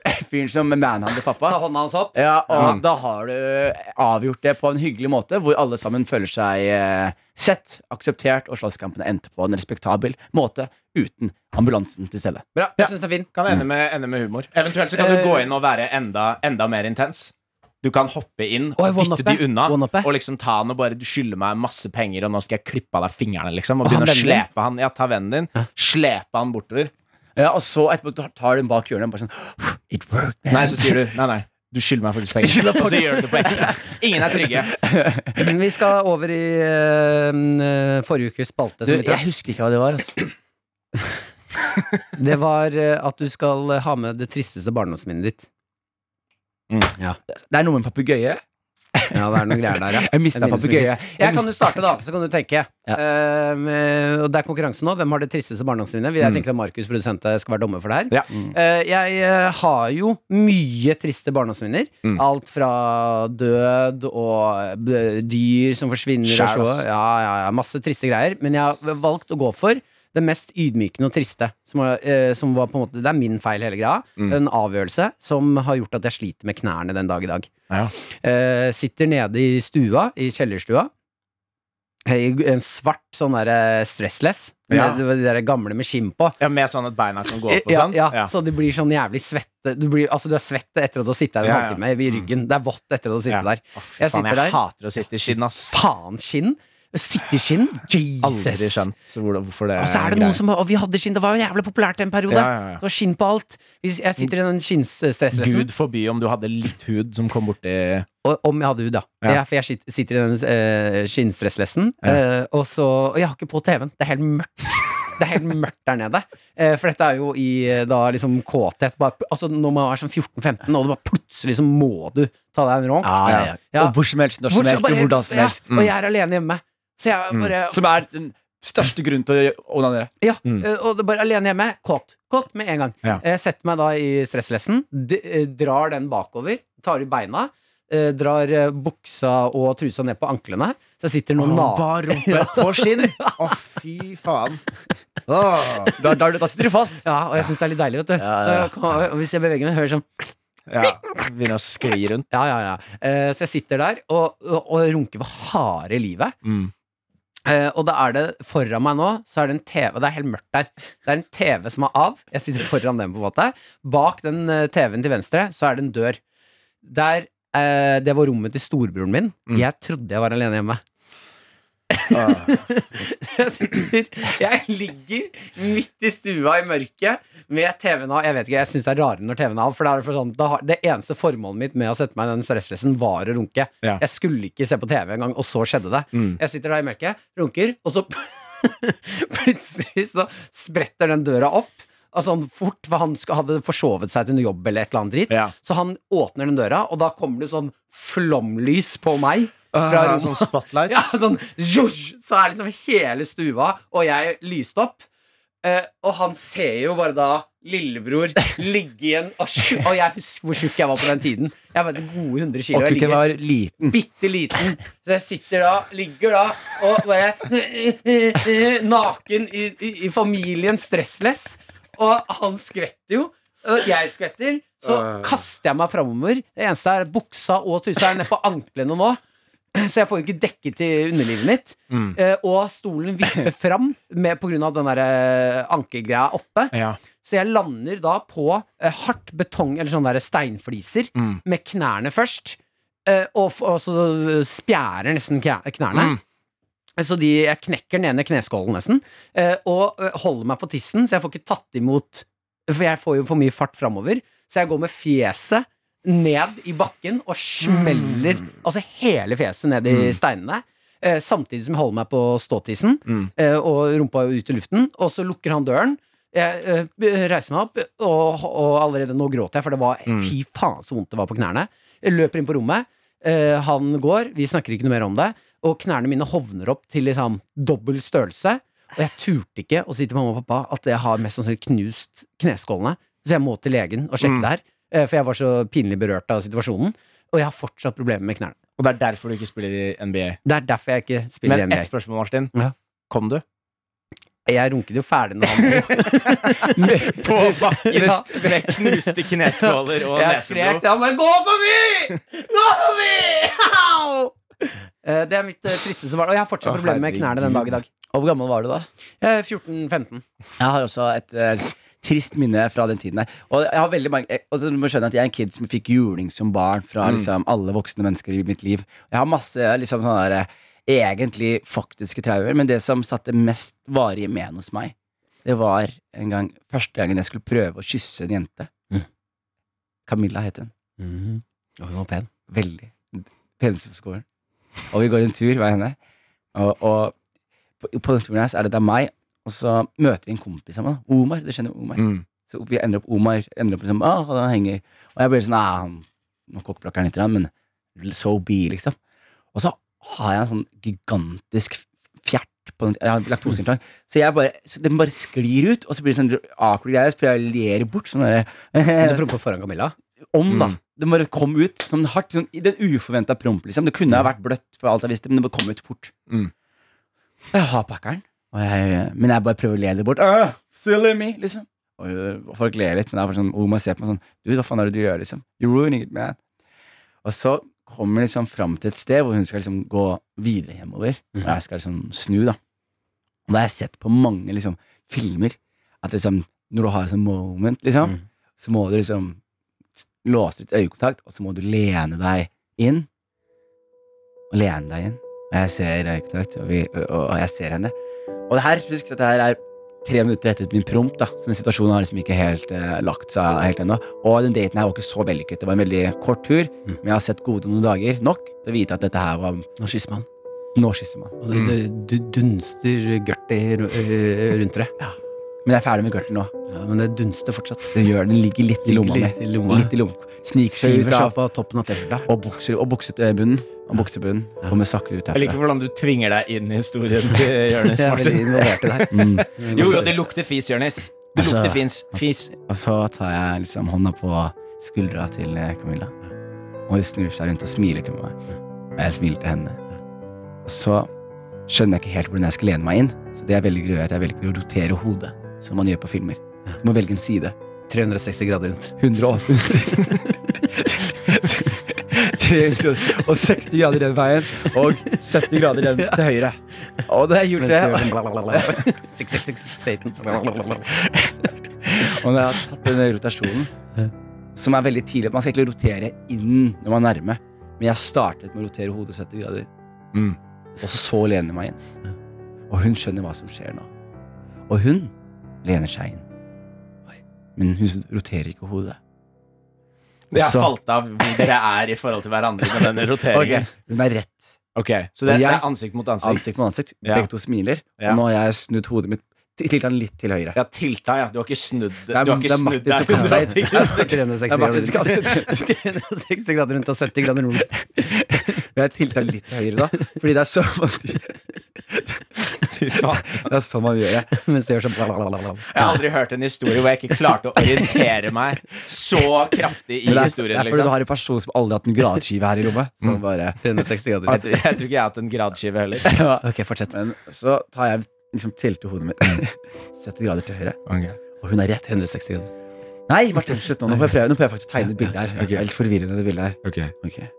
B: eh, fyren som manhandler pappa.
C: Mm. Ta Mm. hånda hans opp.
B: Ja, og
D: Ja.
B: da har du avgjort det på en hyggelig måte, hvor alle sammen føler seg eh, sett, akseptert, og slåsskampene endte på en respektabel måte uten ambulansen til stede.
C: Bra.
D: Ja.
C: Jeg syns den er fin.
D: Kan ende med, ende med humor. Eventuelt så kan du
C: Eh,
D: gå inn og være enda, enda mer intens. Du kan hoppe inn
C: Oi,
D: og dytte
C: one-uppe.
D: de unna.
C: One-uppe.
D: Og liksom ta han og bare Du skylder meg masse penger, og nå skal jeg klippe av deg fingrene, liksom. Og
C: Og han
D: begynne å
C: vennen din?
D: slepe han. Ja, ta vennen din. Slepe han bortover.
B: Ja, og så etterpå tar- tar hun bak hjørnet og bare sånn It worked, man.
D: Nei, så sier du Nei, nei. Du skylder meg faktisk penger. Og så gjør du det på ekte. Ingen er trygge.
C: Vi skal over i eh, forrige ukes
B: du,
C: spalte. Som vi
B: jeg
C: traff.
B: husker ikke hva det var. Altså.
C: Det var eh, at du skal eh, ha med det tristeste barndomsminnet ditt. Mm,
B: Det er noe med en papegøye.
C: Ja, det er noen greier der, ja.
B: Jeg mista
C: Jeg minnes
B: papegøye.
C: ikke. Jeg kan jo starte, da, så kan du tenke.
B: Ja.
C: Ehm, eh, og det er konkurranse nå. Hvem har det tristeste barndomsminnet? Jeg tenker at Markus, produsent, skal være dommer for det her.
D: Mm. Ja.
C: Eh, jeg eh, har jo mye triste barndomsminner.
D: Mm.
C: Alt fra død og b- dyr som forsvinner. og
D: Skjær,
C: så-
D: ass.
C: Ja, ja, ja, masse triste greier. Men jeg har valgt å gå for det mest ydmykende og triste. Som, var- eh, som var på en måte, det er min feil, hele greia.
D: Mm.
C: En avgjørelse som har gjort at jeg sliter med knærne den dag i dag.
D: Ja.
C: Eh, sitter nede i stua, i kjellerstua. Eh, I en svart sånn der eh, stressless.
D: Ja.
C: Med de der gamle med skinn på.
D: Ja, Med sånn at beina kan gå opp og
C: Ja,
D: sånn?
C: ja,
D: Ja.
C: så du blir sånn jævlig svette. Du, blir, altså, du er svett etter at du har sittet der en
D: Ja, ja. Mm.
C: halvtime i ryggen. Det er vått etter at du har sittet
D: Ja.
C: der.
D: Å, fy
C: Jeg
D: faen,
C: sitter
D: jeg
C: der.
D: hater å sitte i skinn, ass.
C: Faen skinn! Sitteskinn?
D: Aldri
C: Jesus!
D: skjønt hvordan- hvorfor det
C: Og så er det
D: en
C: noen
D: greie.
C: som Og vi hadde skinn, det var jo jævlig populært en periode.
D: Ja, ja, ja.
C: Det var skinn på alt. Hvis Jeg sitter i den skinnstressdressen.
D: Gud forby om du hadde litt hud som kom borti
C: Og om jeg hadde hud, da.
D: Ja.
C: Ja, for jeg sit- sitter i den uh, skinnstresslessen,
D: Ja.
C: eh, og så Og jeg har ikke på TV-en. Det er helt mørkt. Det er helt mørkt der nede. Eh, for dette er jo i eh, da liksom kåthet. Bare, pl- altså Når man er sånn 14-15, og det bare plutselig så må du ta deg en ronk.
B: Ja, ja, ja.
C: Ja.
B: Og hvor som helst, når
C: Hvor-
B: som helst,
C: bare-
B: og hvordan som
C: ja,
B: helst. Mm.
C: Og jeg er alene hjemme. Så jeg bare
B: Som er den største grunnen til å gjø- onanere.
C: Ja,
D: Mm.
C: eh, og det er bare alene hjemme. Kåt. Kåt med en gang.
D: Ja.
C: Eh, setter meg da i stresslessen, d eh, drar den bakover, tar i beina, eh, drar eh, buksa og trusa ned på anklene. Så jeg sitter nå
D: Å,
C: naken.
D: Bar rumpe på skinn! Å, fy faen. Åh.
B: Da, da, da sitter du fast.
C: Ja, og jeg syns det er litt deilig, vet du.
B: Ja, ja, ja.
C: Og jeg kan- Og hvis jeg beveger meg, hører jeg sånn
D: Ja, begynner å skli rundt.
C: Ja, ja, ja. Eh, så jeg sitter der og, og, og runker ved harde livet.
D: Mm.
C: Eh, og da er det foran meg nå, så er det en TV og Det er helt mørkt der. Det er en TV som er av. Jeg sitter foran den, på en måte. Bak den eh, TV-en til venstre så er det en dør. Der eh, Det var rommet til storebroren min.
D: Mm.
C: Jeg trodde jeg var alene hjemme. jeg sitter Jeg ligger midt i stua i mørket med TV-en av. Jeg vet ikke, jeg syns det er rarere når TV-en er av. For da er det, for sånn, da har, det eneste formålet mitt med å sette meg i den stresslessen, var å runke.
D: Ja.
C: Jeg skulle ikke se på TV engang, og så skjedde det.
D: Mm.
C: Jeg sitter da i mørket, runker, og så plutselig så spretter den døra opp. Og sånn fort, for han sk- hadde forsovet seg til noe jobb eller et eller annet dritt.
D: Ja.
C: Så han åpner den døra, og da kommer det sånn flomlys på meg. Fra
D: Ah,
C: rommet.
D: sånn spotlight.
C: Ja, sånn zhuzh, Så er liksom hele stua og jeg lyst opp. Eh, og han ser jo bare da lillebror ligge igjen og, sju- og jeg husker hvor tjukk jeg var på den tiden. Jeg var gode 100 kilo.
B: Og
C: jeg
B: kukken
C: ligger-
B: var liten.
C: bitte liten. Så jeg sitter da, ligger da, og bare naken i, i, i familien stressless. Og han skvetter jo. Og jeg skvetter. Så kaster jeg meg framover. Det eneste er at buksa og trusa er nede på anklene nå. Så jeg får jo ikke dekke til underlivet mitt. Eh, og stolen vipper fram med, på grunn av den der eh, ankelgreia oppe.
D: Ja.
C: Så jeg lander da på eh, hardt betong, eller sånne der steinfliser,
D: Mm.
C: med knærne først. eh, og, f- og så eh, spjærer nesten knæ- knærne.
D: Mm.
C: Så de, jeg knekker den ene kneskålen nesten, eh, og eh, holder meg på tissen, så jeg får ikke tatt imot For jeg får jo for mye fart framover. Så jeg går med fjeset ned i bakken og smeller
D: Mm.
C: altså hele fjeset ned i steinene. eh, Samtidig som jeg holder meg på ståtissen
D: Mm.
C: eh, og rumpa ut i luften. Og så lukker han døren. Jeg eh, b- reiser meg opp, og, og allerede nå gråter jeg, for det var
D: Mm.
C: fy faen så vondt det var på knærne. Jeg løper inn på rommet. eh, han går, vi snakker ikke noe mer om det. Og knærne mine hovner opp til liksom dobbel størrelse. Og jeg turte ikke å si til mamma og pappa at jeg har mest sannsynlig knust kneskålene. Så jeg må til legen og sjekke
D: Mm.
C: det her. eh, For jeg var så pinlig berørt av situasjonen. Og jeg har fortsatt problemer med knærne.
D: Og det er derfor du ikke spiller i NBA.
C: Det er derfor jeg ikke spiller i
D: Men
C: NBA.
D: ett spørsmål, Martin.
C: Ja.
D: Kom du?
C: Jeg runket jo ferdig når han
D: På bakken
C: Ja.
D: med knuste kneskåler og
C: Jeg skrek til han bare 'gå forbi! Gå forbi!' Au! Eh, Det er mitt eh, tristeste barn. Og jeg har fortsatt
D: Å,
C: problemer med knærne den dag i dag.
B: Og hvor gammel var du da?
C: Jeg er 14-15.
B: Jeg har også et eh, trist minne fra den tiden her. Og jeg har veldig mange eh, og så Du må skjønne at jeg er en kid som fikk juling som barn fra liksom, alle voksne mennesker i mitt liv. Jeg har masse liksom sånne der, eh, egentlig faktiske traumer, men det som satte mest varige men hos meg, det var en gang, første gangen jeg skulle prøve å kysse en jente. Camilla het hun.
E: Mm.
C: Og hun var pen.
B: Veldig. Peneste på skolen. Og vi går en tur, hver henne. Og, og på, på den turen her så er det da meg, og så møter vi en kompis sammen. da. Omar. Du kjenner Omar.
D: Mm.
B: Så vi ender opp Omar ender opp liksom, ah, han henger. Og jeg blir sånn ah, han- Nå kokkblakker han litt, grann, men so be, liksom. Og så har jeg en sånn gigantisk fjert på den, Jeg har laktoseinntak. Så jeg bare, så den bare sklir ut, og så blir det sånn awkward greie. Så prøver jeg å lere bort. sånn
E: Eh.
C: Du
B: der,
C: prompa foran Camilla?
B: om, da.
D: Mm.
B: Den bare kom ut som en hardt, sånn, i den uforventa promp, liksom. Det kunne ha vært bløtt, for alt jeg visste, men det bare kom ut fort.
D: Mm.
B: Jeg har pakkeren, og jeg, men jeg bare prøver å le det bort. «Åh, silly me, liksom. Og øh, folk ler litt, men det er bare sånn, Omar ser på meg sånn Du, hva faen er det du gjør, liksom? You're ruining it, man. Og så kommer jeg liksom fram til et sted hvor hun skal liksom gå videre hjemover. Og jeg skal liksom snu, da. Og da har jeg sett på mange liksom filmer at liksom når du har et sånt moment, liksom,
C: Mm.
B: så må du liksom låse litt øyekontakt, og så må du lene deg inn. Og lene deg inn. Og jeg ser røyknøkt, og, vi- og, og jeg ser henne. Og det her, husk, dette her er tre minutter etter min promp, da. Så den situasjonen har liksom ikke helt eh, lagt seg helt ennå. Og den daten her var ikke så vellykket. Det var en veldig kort tur, men jeg har sett gode noen dager nok til å vite at dette her var
E: Mm. Nå kysser man.
B: Nå kysser man.
E: Og det,
C: Mm.
E: det, du dunster gørti ru- øh, rundt dere.
B: Men jeg er ferdig med gørten nå.
E: Ja, men det dunster fortsatt.
B: Den gjør den ligger litt i lomma mi.
E: Litt i lomma.
B: Litt i lomma. Sniker seg
E: Siver
B: ut
E: seg
B: av
E: på toppen av T-skjorta.
B: Og bukser, og buksebunnen. Og buksebunnen. Kommer sakte ut
D: Jeg liker
B: herfra.
D: hvordan du tvinger deg inn i historien til Jonis
C: Jeg er veldig
D: Martin.
C: involvert i det her.
B: Mm.
D: Jo, jo, det lukter fis, Jonis. Det
B: Altså-
D: lukter fins. Fis.
B: Og så tar jeg liksom hånda på skuldra til eh, Camilla. Og hun snur seg rundt og smiler til meg. Og jeg smiler til henne. Og så skjønner jeg ikke helt hvordan jeg skal lene meg inn. Så det jeg velger å gjøre, er at jeg velger å rotere hodet, som man gjør på filmer. Du må velge en side.
E: 360 grader rundt.
B: 180 360 grader den veien og 70 grader den til høyre. Og det har jeg gjort det.
C: Mens du gjør sånn 666 Satan.
B: Og når jeg har tatt denne rotasjonen, som er veldig tidlig Man skal egentlig rotere innen når man er nærme, men jeg startet med å rotere hodet 70 grader.
D: Mm.
B: Og så lener jeg meg inn. Og hun skjønner hva som skjer nå. Og hun lener seg inn. Oi. Men hun roterer ikke hodet.
D: Det har
C: Altså-
B: Så-
D: falt av hvor dere er i forhold til hverandre med denne roteringen.
B: Hun er rett.
D: Ok, Så det
B: Og jeg-
D: er ansikt mot ansikt.
B: Ansikt mot ansikt.
D: Ja.
B: Begge to smiler.
D: Ja.
B: Og nå har jeg snudd hodet mitt til- til den litt til høyre.
D: Ja, tilta, ja. Du har ikke snudd Du
B: er-
D: har
B: det er
D: ikke snudd
B: Martin som kaster deg
D: 180 grader.
C: 360
B: Jeg bare skal-
C: grader rundt. 360 grader rundt og 70 grader rundt.
B: Men jeg tilter litt til høyre da, fordi det er sånn man, det er sånn man gjør det.
C: Mens du gjør sånn blablabla.
D: Jeg har aldri hørt en historie hvor jeg ikke klarte å orientere meg så kraftig i
B: Men det er, det
D: historien.
B: er fordi du
D: liksom Mm.
B: har en person som aldri har hatt en gradskive her i rommet. Så, bare,
C: 360 grader
D: Jeg
C: rundt.
D: tror jeg tror ikke jeg har hatt en gradskive heller.
C: Ok, fortsett.
B: men så tar jeg liksom tilter hodet mitt
D: Mm.
B: 70 grader til høyre, og hun er rett.
C: 360 grader.
B: Nei, Martin, slutt nå. Nå får jeg prøve, nå prøver jeg faktisk å tegne et bilde her. Det er Helt forvirrende, det bildet her. Ok.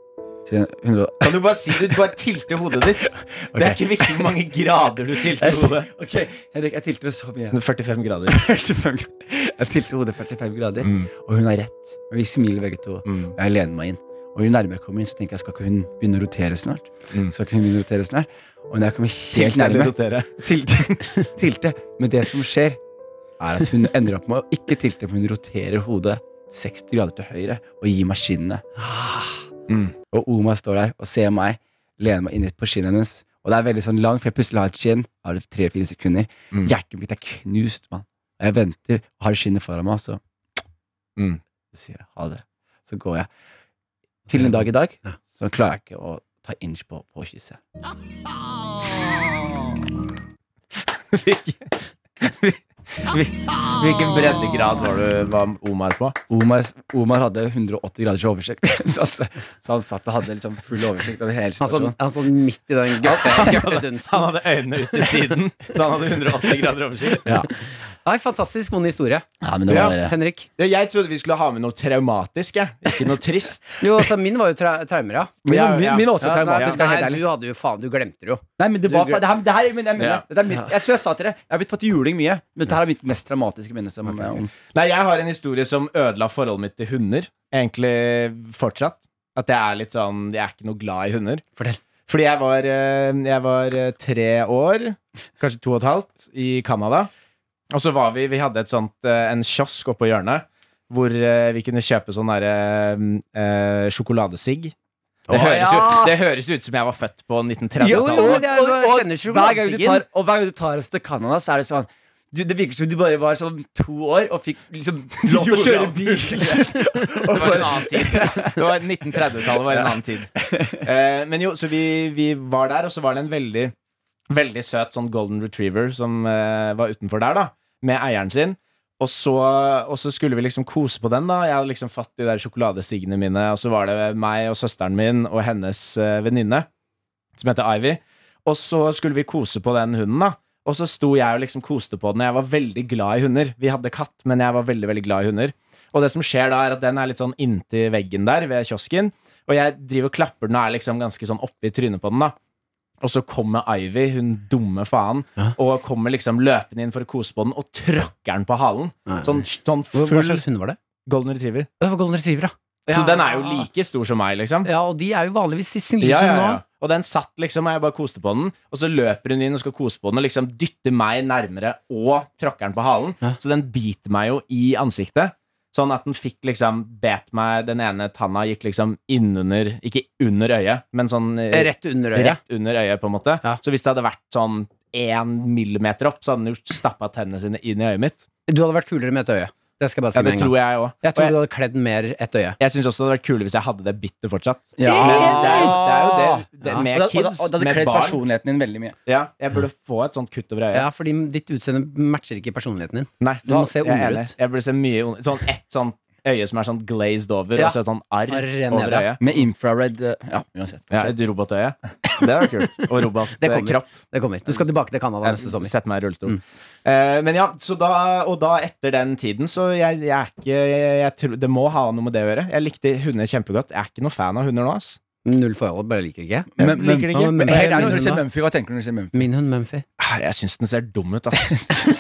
B: 300 og-
D: Kan du bare si du bare tilter hodet ditt? Det er ikke viktig hvor mange grader du tilter hodet.
B: Ok, Henrik, jeg tilter så mye.
D: 45 grader.
B: 45 grader. Jeg tilter hodet 45 grader, og hun er rett. Og vi smiler begge to. Og jeg lener meg inn. Og jo nærmere jeg kommer inn, så tenker jeg skal ikke hun begynne å rotere snart? Skal ikke hun begynne å rotere snart? Og når jeg kommer helt nærme tilte, tilte. Men det som skjer, er at hun ender opp med å ikke tilte, men hun roterer hodet 60 grader til høyre og gir meg skinnet. Og Oma står der og ser meg, lener meg inn på skinnet hennes. Og det er veldig sånn langt, for jeg plutselig har et skinn. Har det tre-fire sekunder. Hjertet mitt er knust, mann. Og jeg venter, og har skinnet foran meg, og så
D: Mm.
B: Så sier jeg ha det. Så går jeg. Til en dag i dag
E: Ja.
B: så klarer jeg ikke å ta inch på, på kysset.
D: Hvilken breddegrad var, du, var Omar på?
B: Omar, Omar hadde 180 graders oversikt, så han, så han satt og hadde liksom full oversikt over hele
C: Han sånn,
B: situasjonen.
C: han sånn midt i den gørte- gørtedunsten.
D: Han hadde øynene ut til siden, så han hadde 180 grader oversikt.
C: Nei, fantastisk vond historie.
B: Ja, men det var
D: sånn, Ja.
C: Henrik.
D: Ja, jeg trodde vi skulle ha med noe traumatisk, jeg. Ikke noe trist.
C: Jo, altså, min var jo tra traumer, ja.
B: Min,
D: Ja,
B: min,
D: ja.
B: min er også
C: Ja,
B: traumatisk,
C: nei,
B: er helt
C: Nei,
B: ærlig.
C: du hadde jo faen, du glemte det jo.
B: Nei, men det var, det her, det her men jeg mener
D: Ja.
B: det. Dette er mitt, jeg, som jeg sa til dere, jeg har blitt fått juling mye, men dette her er mitt mest traumatiske minne. Som, om,
D: Nei, jeg har en historie som ødela forholdet mitt til hunder. Egentlig fortsatt. At jeg er litt sånn Jeg er ikke noe glad i hunder.
C: Fortell.
D: Fordi jeg var, eh, jeg var eh, tre år, kanskje to og et halvt, i Canada. Og så var vi Vi hadde et sånt, eh, en kiosk oppå hjørnet hvor eh, vi kunne kjøpe sånn derre eh, sjokoladesigg. Det,
C: Å,
D: høres jo,
C: ja.
D: det høres ut som jeg var født på
C: Jo, jo,
D: 1930-tallet.
C: men det er-
B: og, og,
C: kjenner ikke du
B: hver gang du
C: romantikken?
B: tar, og hver gang du tar oss til Canada, så er det sånn du, Det virker som du bare var sånn to år og fikk liksom lov til å kjøre bil.
D: Det var en annen tid. Det var 1930-tallet var en annen tid. Eh, men jo, så vi, vi var der, og så var det en veldig Veldig søt sånn golden retriever som eh, var utenfor der, da. Med eieren sin. Og så, og så skulle vi liksom kose på den, da. Jeg hadde liksom fatt de der sjokoladestiggene mine, og så var det meg og søsteren min og hennes eh, venninne, som heter Ivy. Og så skulle vi kose på den hunden, da. Og så sto jeg og liksom koste på den. og Jeg var veldig glad i hunder. Vi hadde katt, men jeg var veldig, veldig glad i hunder. Og det som skjer da, er at den er litt sånn inntil veggen der ved kiosken. Og jeg driver og klapper den og er liksom ganske sånn oppi trynet på den, da. Og så kommer Ivy, hun dumme faen, og kommer liksom løpende inn for å kose på den, og tråkker den på halen. Sånn, sånn
C: Hva, hva
D: full
C: slags hund var det?
D: golden retriever.
C: Det var golden retriever, ja.
D: Så den er jo like stor som meg, liksom.
C: Ja, og de er jo vanligvis i sin
D: Ja, ja,
C: nå.
D: ja. Og den satt liksom, og jeg bare koste på den. Og så løper hun inn og skal kose på den, og liksom dytter meg nærmere og tråkker den på halen. Så den biter meg jo i ansiktet. Sånn at den fikk liksom bet meg Den ene tanna gikk liksom innunder Ikke under øyet, men sånn eh,
C: Rett under øret.
D: rett under øyet, på en måte.
C: Ja.
D: Så hvis det hadde vært sånn én millimeter opp, så hadde den jo stappa tennene sine inn i øyet mitt.
C: Du hadde vært kulere med et øye. Det skal jeg bare si
D: Ja, det
C: med en gang.
D: tror jeg
C: Jeg
D: òg. Og
C: tror du
D: jeg,
C: hadde kledd mer ett øye.
D: jeg syns også det hadde vært kulere hvis jeg hadde det bittet fortsatt.
B: Ja.
D: Men det er jo det. Er jo det. det
C: Ja.
B: Og det,
D: Med
B: og det,
D: kids,
B: og det hadde
D: med
B: kledd
D: barn.
B: personligheten din veldig mye.
D: Ja, jeg burde få et sånt kutt over øyet.
C: Ja, fordi ditt utseende matcher ikke personligheten din.
D: Nei,
C: Du må se
D: jeg er
C: ondere
D: enig.
C: ut.
D: Jeg burde se mye ond- Sånn ett sånn øye som er sånn glazed over,
C: Ja.
D: og så et sånn arr
C: Arr nede,
D: over
C: ja.
D: øyet.
B: Med infrared eh, Ja, uansett.
D: Ja, et robotøye. Det var kult. Og
C: Det kommer.
D: robotkropp.
C: Det kommer. Du skal tilbake til Canada neste
D: Jeg
C: sommer.
D: setter meg i rullestol.
C: Mm.
D: Eh, men ja, så da, og da etter den tiden, så jeg, jeg er ikke jeg, jeg tror, Det må ha noe med det å gjøre. Jeg likte hunder kjempegodt. Jeg er ikke noe fan av hunder nå, ass.
C: Null forhold, bare liker ikke.
D: Jeg
B: Men-
D: liker det ikke.
C: men-
B: Men helt ærlig, når
C: Min
B: du ser
C: hund da?
B: Mumphy, hva tenker du når du ser Mumphy?
C: Min hund Mumphy.
D: Ah, Jeg syns den ser dum ut, ass.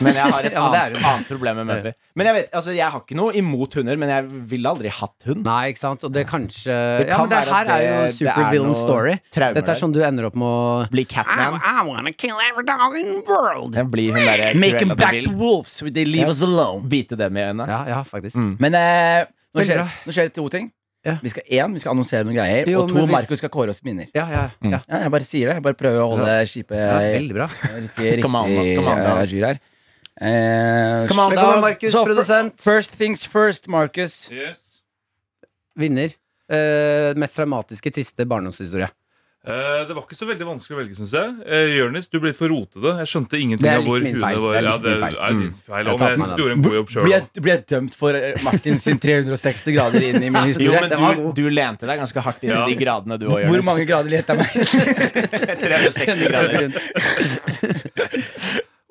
D: Men jeg har et
C: Ja, men det er
D: annet, annet problem med Muffy. Men jeg vet, altså, jeg har ikke noe imot hunder, men jeg ville aldri hatt hund.
C: Nei, ikke sant. Og det kanskje
D: Det
C: Ja,
D: kan
C: men det
D: være
C: her
D: at
C: er jo
D: det- det er
C: supervillain
D: noe
C: story.
D: traumer
C: Dette
D: der.
C: er sånn du ender opp med å
D: Bli Catman.
C: I wanna kill every dog in the world.
D: Jeg blir hun derre
B: Make them
D: Cruella de
B: back
D: Vil.
B: to wolves, they leave us alone.
D: Bite dem i øynene.
C: Ja, ja, faktisk.
D: Mm.
B: Men eh, nå,
C: Veldig
B: skjer,
C: bra.
B: nå skjer det to ting.
C: Ja.
B: Vi skal én, vi skal annonsere noen greier.
C: Jo,
B: og
C: men
B: to,
C: hvis-
B: Markus skal kåre oss til minner.
C: Ja, ja,
D: Mm.
C: ja.
B: Ja, jeg bare sier det. Jeg bare prøver å holde skipet
C: ja
B: eh,
C: veldig bra.
B: riktig riktig,
D: Come on, da. Come on, da.
B: eh, ajour her. Eh,
D: Come on,
B: så-
D: da.
C: Velkommen, Markus,
B: så fir-
C: produsent.
B: First things first, Markus.
F: Yes.
C: Vinner. Eh, mest traumatiske, triste barndomshistorie.
F: Eh, det var ikke så veldig vanskelig å velge, syns jeg. Uh, Jørnis, du ble litt for rotete. Jeg skjønte
C: Det
F: ingenting
C: er
F: av
C: litt
F: hvor
C: min
F: hundene
C: feil.
F: var.
C: Det er
F: Ja,
C: litt
F: det
C: min feil.
F: er
C: Mm.
F: ditt feil
C: Jeg
F: også, men
C: tar
F: jeg
C: på
F: syns
C: meg
F: du gjorde en god jobb
B: Blir
F: sjøl.
B: jeg, blir jeg dømt for eh, Martin sin 360 grader inn i min
D: Jo,
B: historie?
D: men
C: Den var
D: du,
C: god.
D: du lente deg ganske hardt inn
F: Ja.
D: i de gradene du òg gjør.
B: Hvor mange grader lette jeg meg?
D: 360 grader.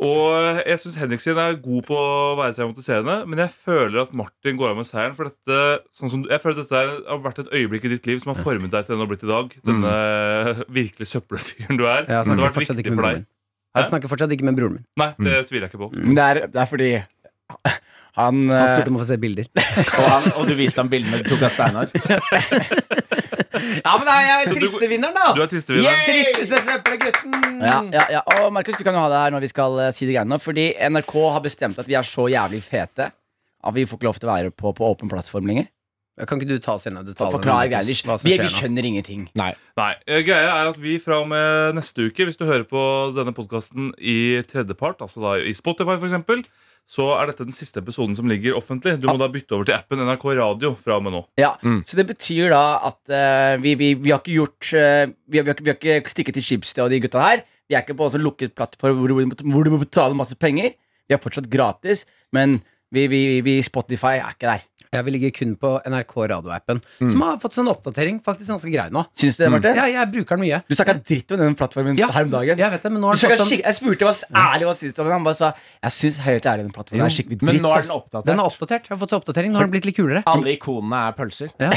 F: Og jeg syns Henrik sin er god på å være traumatiserende, men jeg føler at Martin går av med seieren. For dette, sånn som, jeg føler at dette er- har vært et øyeblikk i ditt liv som har formet deg til den du har blitt i dag. Denne virkelig søppelfyren du er.
C: Jeg
F: det har
C: Mm. snakker
F: vært
C: fortsatt
F: viktig
C: ikke med Mm.
F: for
C: broren min.
F: deg.
C: Jeg
F: Hæ?
C: snakker fortsatt ikke med broren min.
F: Nei, det tviler jeg ikke på.
B: Det er, det er fordi han,
C: Han
B: eh,
C: spurte om å få se bilder.
D: Og, han, og du viste ham bildene du tok av Steinar.
C: Ja, men da er jeg
F: Så du-
C: tristevinneren, da!
F: Du er tristevinneren.
C: Tristeste søppelgutten!
B: Ja, ja, ja. Og Markus, du kan jo ha det her når vi skal eh, si de greiene nå. Fordi NRK har bestemt at vi er så jævlig fete at vi får ikke lov til å være på, på åpen plattform lenger.
C: Kan ikke du ta oss gjennom detaljene?
B: Forklare greier.
C: Markus, hva som
B: Vi,
C: skjer
B: vi
C: nå?
B: skjønner ingenting.
F: Nei, eh, greia er at vi fra og med neste uke, hvis du hører på denne podkasten i tredjepart, altså da i Spotify f.eks., så er dette den siste episoden som ligger offentlig. Du må da bytte over til appen NRK Radio fra og med nå.
B: Ja,
D: Mm.
B: Så det betyr da at eh, vi, vi, vi har ikke gjort eh, vi, har, vi, har, ikke- vi har ikke stikket til Schibsted og de gutta her. Vi er ikke på en sånn lukket plattform hvor, du- hvor, du må- hvor du må betale masse penger. Vi er fortsatt gratis, men vi, vi, vi Spotify er ikke der.
C: Jeg vil ligge kun på NRK radioappen,
D: Mm.
C: som har fått sånn oppdatering. Faktisk ganske grei nå.
B: Syns du det, Marte?
C: Ja, jeg bruker den mye.
B: Du snakka dritt om den plattformen
C: Ja,
B: her om dagen.
C: Jeg vet det, men nå
B: Du skal
C: har den fått
B: skik-
C: sånn
B: Jeg spurte hva s- ærlig hva syns du om den. Han bare sa jeg syns helt ærlig den plattformen er skikkelig dritt.
D: Men nå er
B: ass."
D: den oppdatert.
C: Den er oppdatert. Jeg har fått så oppdatering. Nå har den blitt litt kulere.
D: Alle ikonene er pølser.
C: Ja.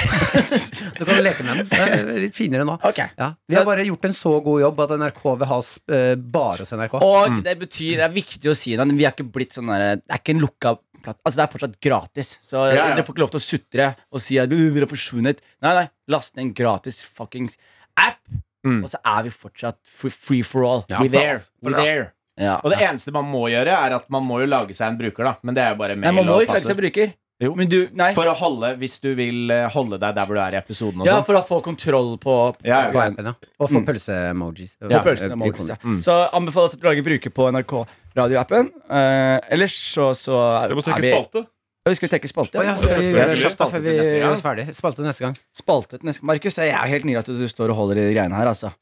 C: Du kan leke med den. Det er Litt finere nå.
B: Ok.
C: Ja. Vi har bare gjort en så god jobb at NRK vil ha oss eh, bare hos NRK.
B: Og det betyr, det er viktig å si det, vi er ikke blitt sånn der, det er ikke en lukka platt, altså det er fortsatt gratis. Så
D: ja.
B: dere får ikke lov til å sutre og si at «Du, dere har forsvunnet. Nei, nei, last ned en gratis fuckings app, og så er vi fortsatt free, free for all.
D: We're there. We're there.
B: Ja.
D: Og det eneste man må gjøre, er at man må jo lage seg en bruker, da. Men det er jo bare
B: Nei,
D: mail
B: man må
D: og
B: ikke lage seg
D: passord.
B: bruker.
D: Jo.
B: Men du, nei.
D: For å holde, hvis du vil eh, holde deg der hvor du er i episoden og
B: ja,
D: sånn.
B: for å få kontroll på, på
D: Ja, ja.
C: På appen, ja. Og få pølse-emojis.
B: på pølsene med Markus, ja. Så anbefaler jeg at du lager bruker på NRK radioappen. Eh, ellers så, så er,
F: Jeg må
B: er
F: trekke
B: vi
F: spalte.
B: Ja, vi skal trekke spalte.
C: Å ja, skal vi
F: selvfølgelig.
C: gjøre det kjapt da, før vi
D: Spalte til neste gang.
C: gjør oss ferdig? Spalte neste gang.
B: spaltet neste Markus, jeg er helt nylig at du står og holder i de greiene her, altså.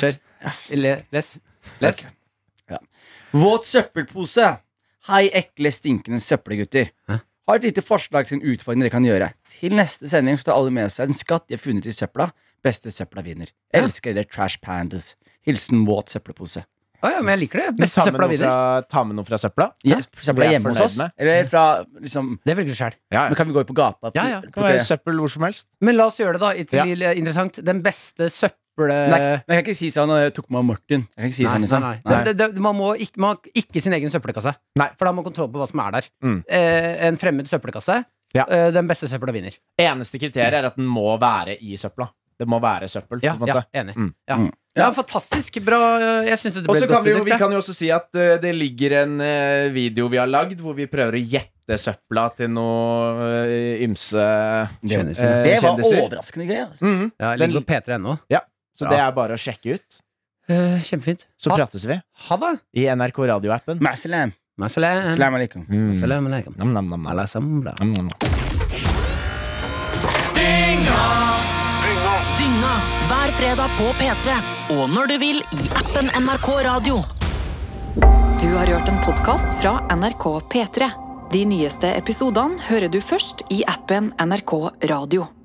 C: Kjør. Le, les. Les.
B: Våt søppelpose. Hei, ekle, stinkende søppelgutter.
C: Hæ?
B: Har et lite forslag til en utfordring dere kan gjøre. Til neste sending så tar alle med seg en skatt de har funnet i søpla. Beste søpla vinner. Elsker dere Trash Pandas. Hilsen våt søppelpose.
C: Å ja, men jeg liker det.
D: Men
C: Best
D: ta med
C: søpla
D: noe
C: vinner.
D: fra- Ta med noe fra søpla.
B: Ja, søpla
D: Vi er
B: hjemme hos
D: fornøyd
B: oss.
D: med.
B: Eller fra liksom
C: Det velger du sjæl.
D: Ja,
B: Men kan vi gå ut på gata?
C: Ja, ja.
D: Det kan være søppel hvor som helst.
C: Men la oss gjøre det, da. i- Til,
D: Ja.
C: Interessant. Den beste søp... eple...
B: Nei, men jeg kan ikke si sånn Jeg tok meg av Martin. Jeg kan ikke si sånn liksom.
C: Nei, nei. Det, det, man må ikke, man, har ikke sin egen søppelkasse.
D: Nei.
C: For da har man kontroll på hva som er der.
D: Mm.
C: Eh, en fremmed søppelkasse.
D: Ja.
C: Eh, den beste søpla vinner.
D: Eneste kriteriet er at den må være i søpla. Det må være søppel.
C: Ja,
D: på en måte.
C: ja enig.
D: Mm.
C: Ja.
B: Mm.
C: ja, fantastisk bra. eh, Jeg syns det
D: Og
C: ble
D: så
C: et
D: kan
C: godt
D: vi, jo, vi
C: produkt. ja.
D: kan jo også si at eh, det ligger en eh, video vi har lagd, hvor vi prøver å gjette søpla til noe eh, ymse
B: Kjendiser.
D: eh,
B: Det var
D: kjendiser.
B: overraskende gøy. Altså.
D: Mhm.
C: Ja,
D: Den-
C: ligger på p3.no.
D: Så det er bare å sjekke ut.
C: Eh, kjempefint.
D: Så
C: Ha-
D: prates vi
C: Ha det.
D: i NRK radioappen.
B: Masalam.
C: Masalam.
B: Salam alaikum.
D: Mm.
C: Salam alaikum.
D: Nam, nam, nam, nam.
C: Salam alaikum.
D: Nam, nam, nam.
A: Dynga hver fredag på P3 og når du vil i appen NRK Radio. Du har hørt en podkast fra NRK P3. De nyeste episodene hører du først i appen NRK Radio.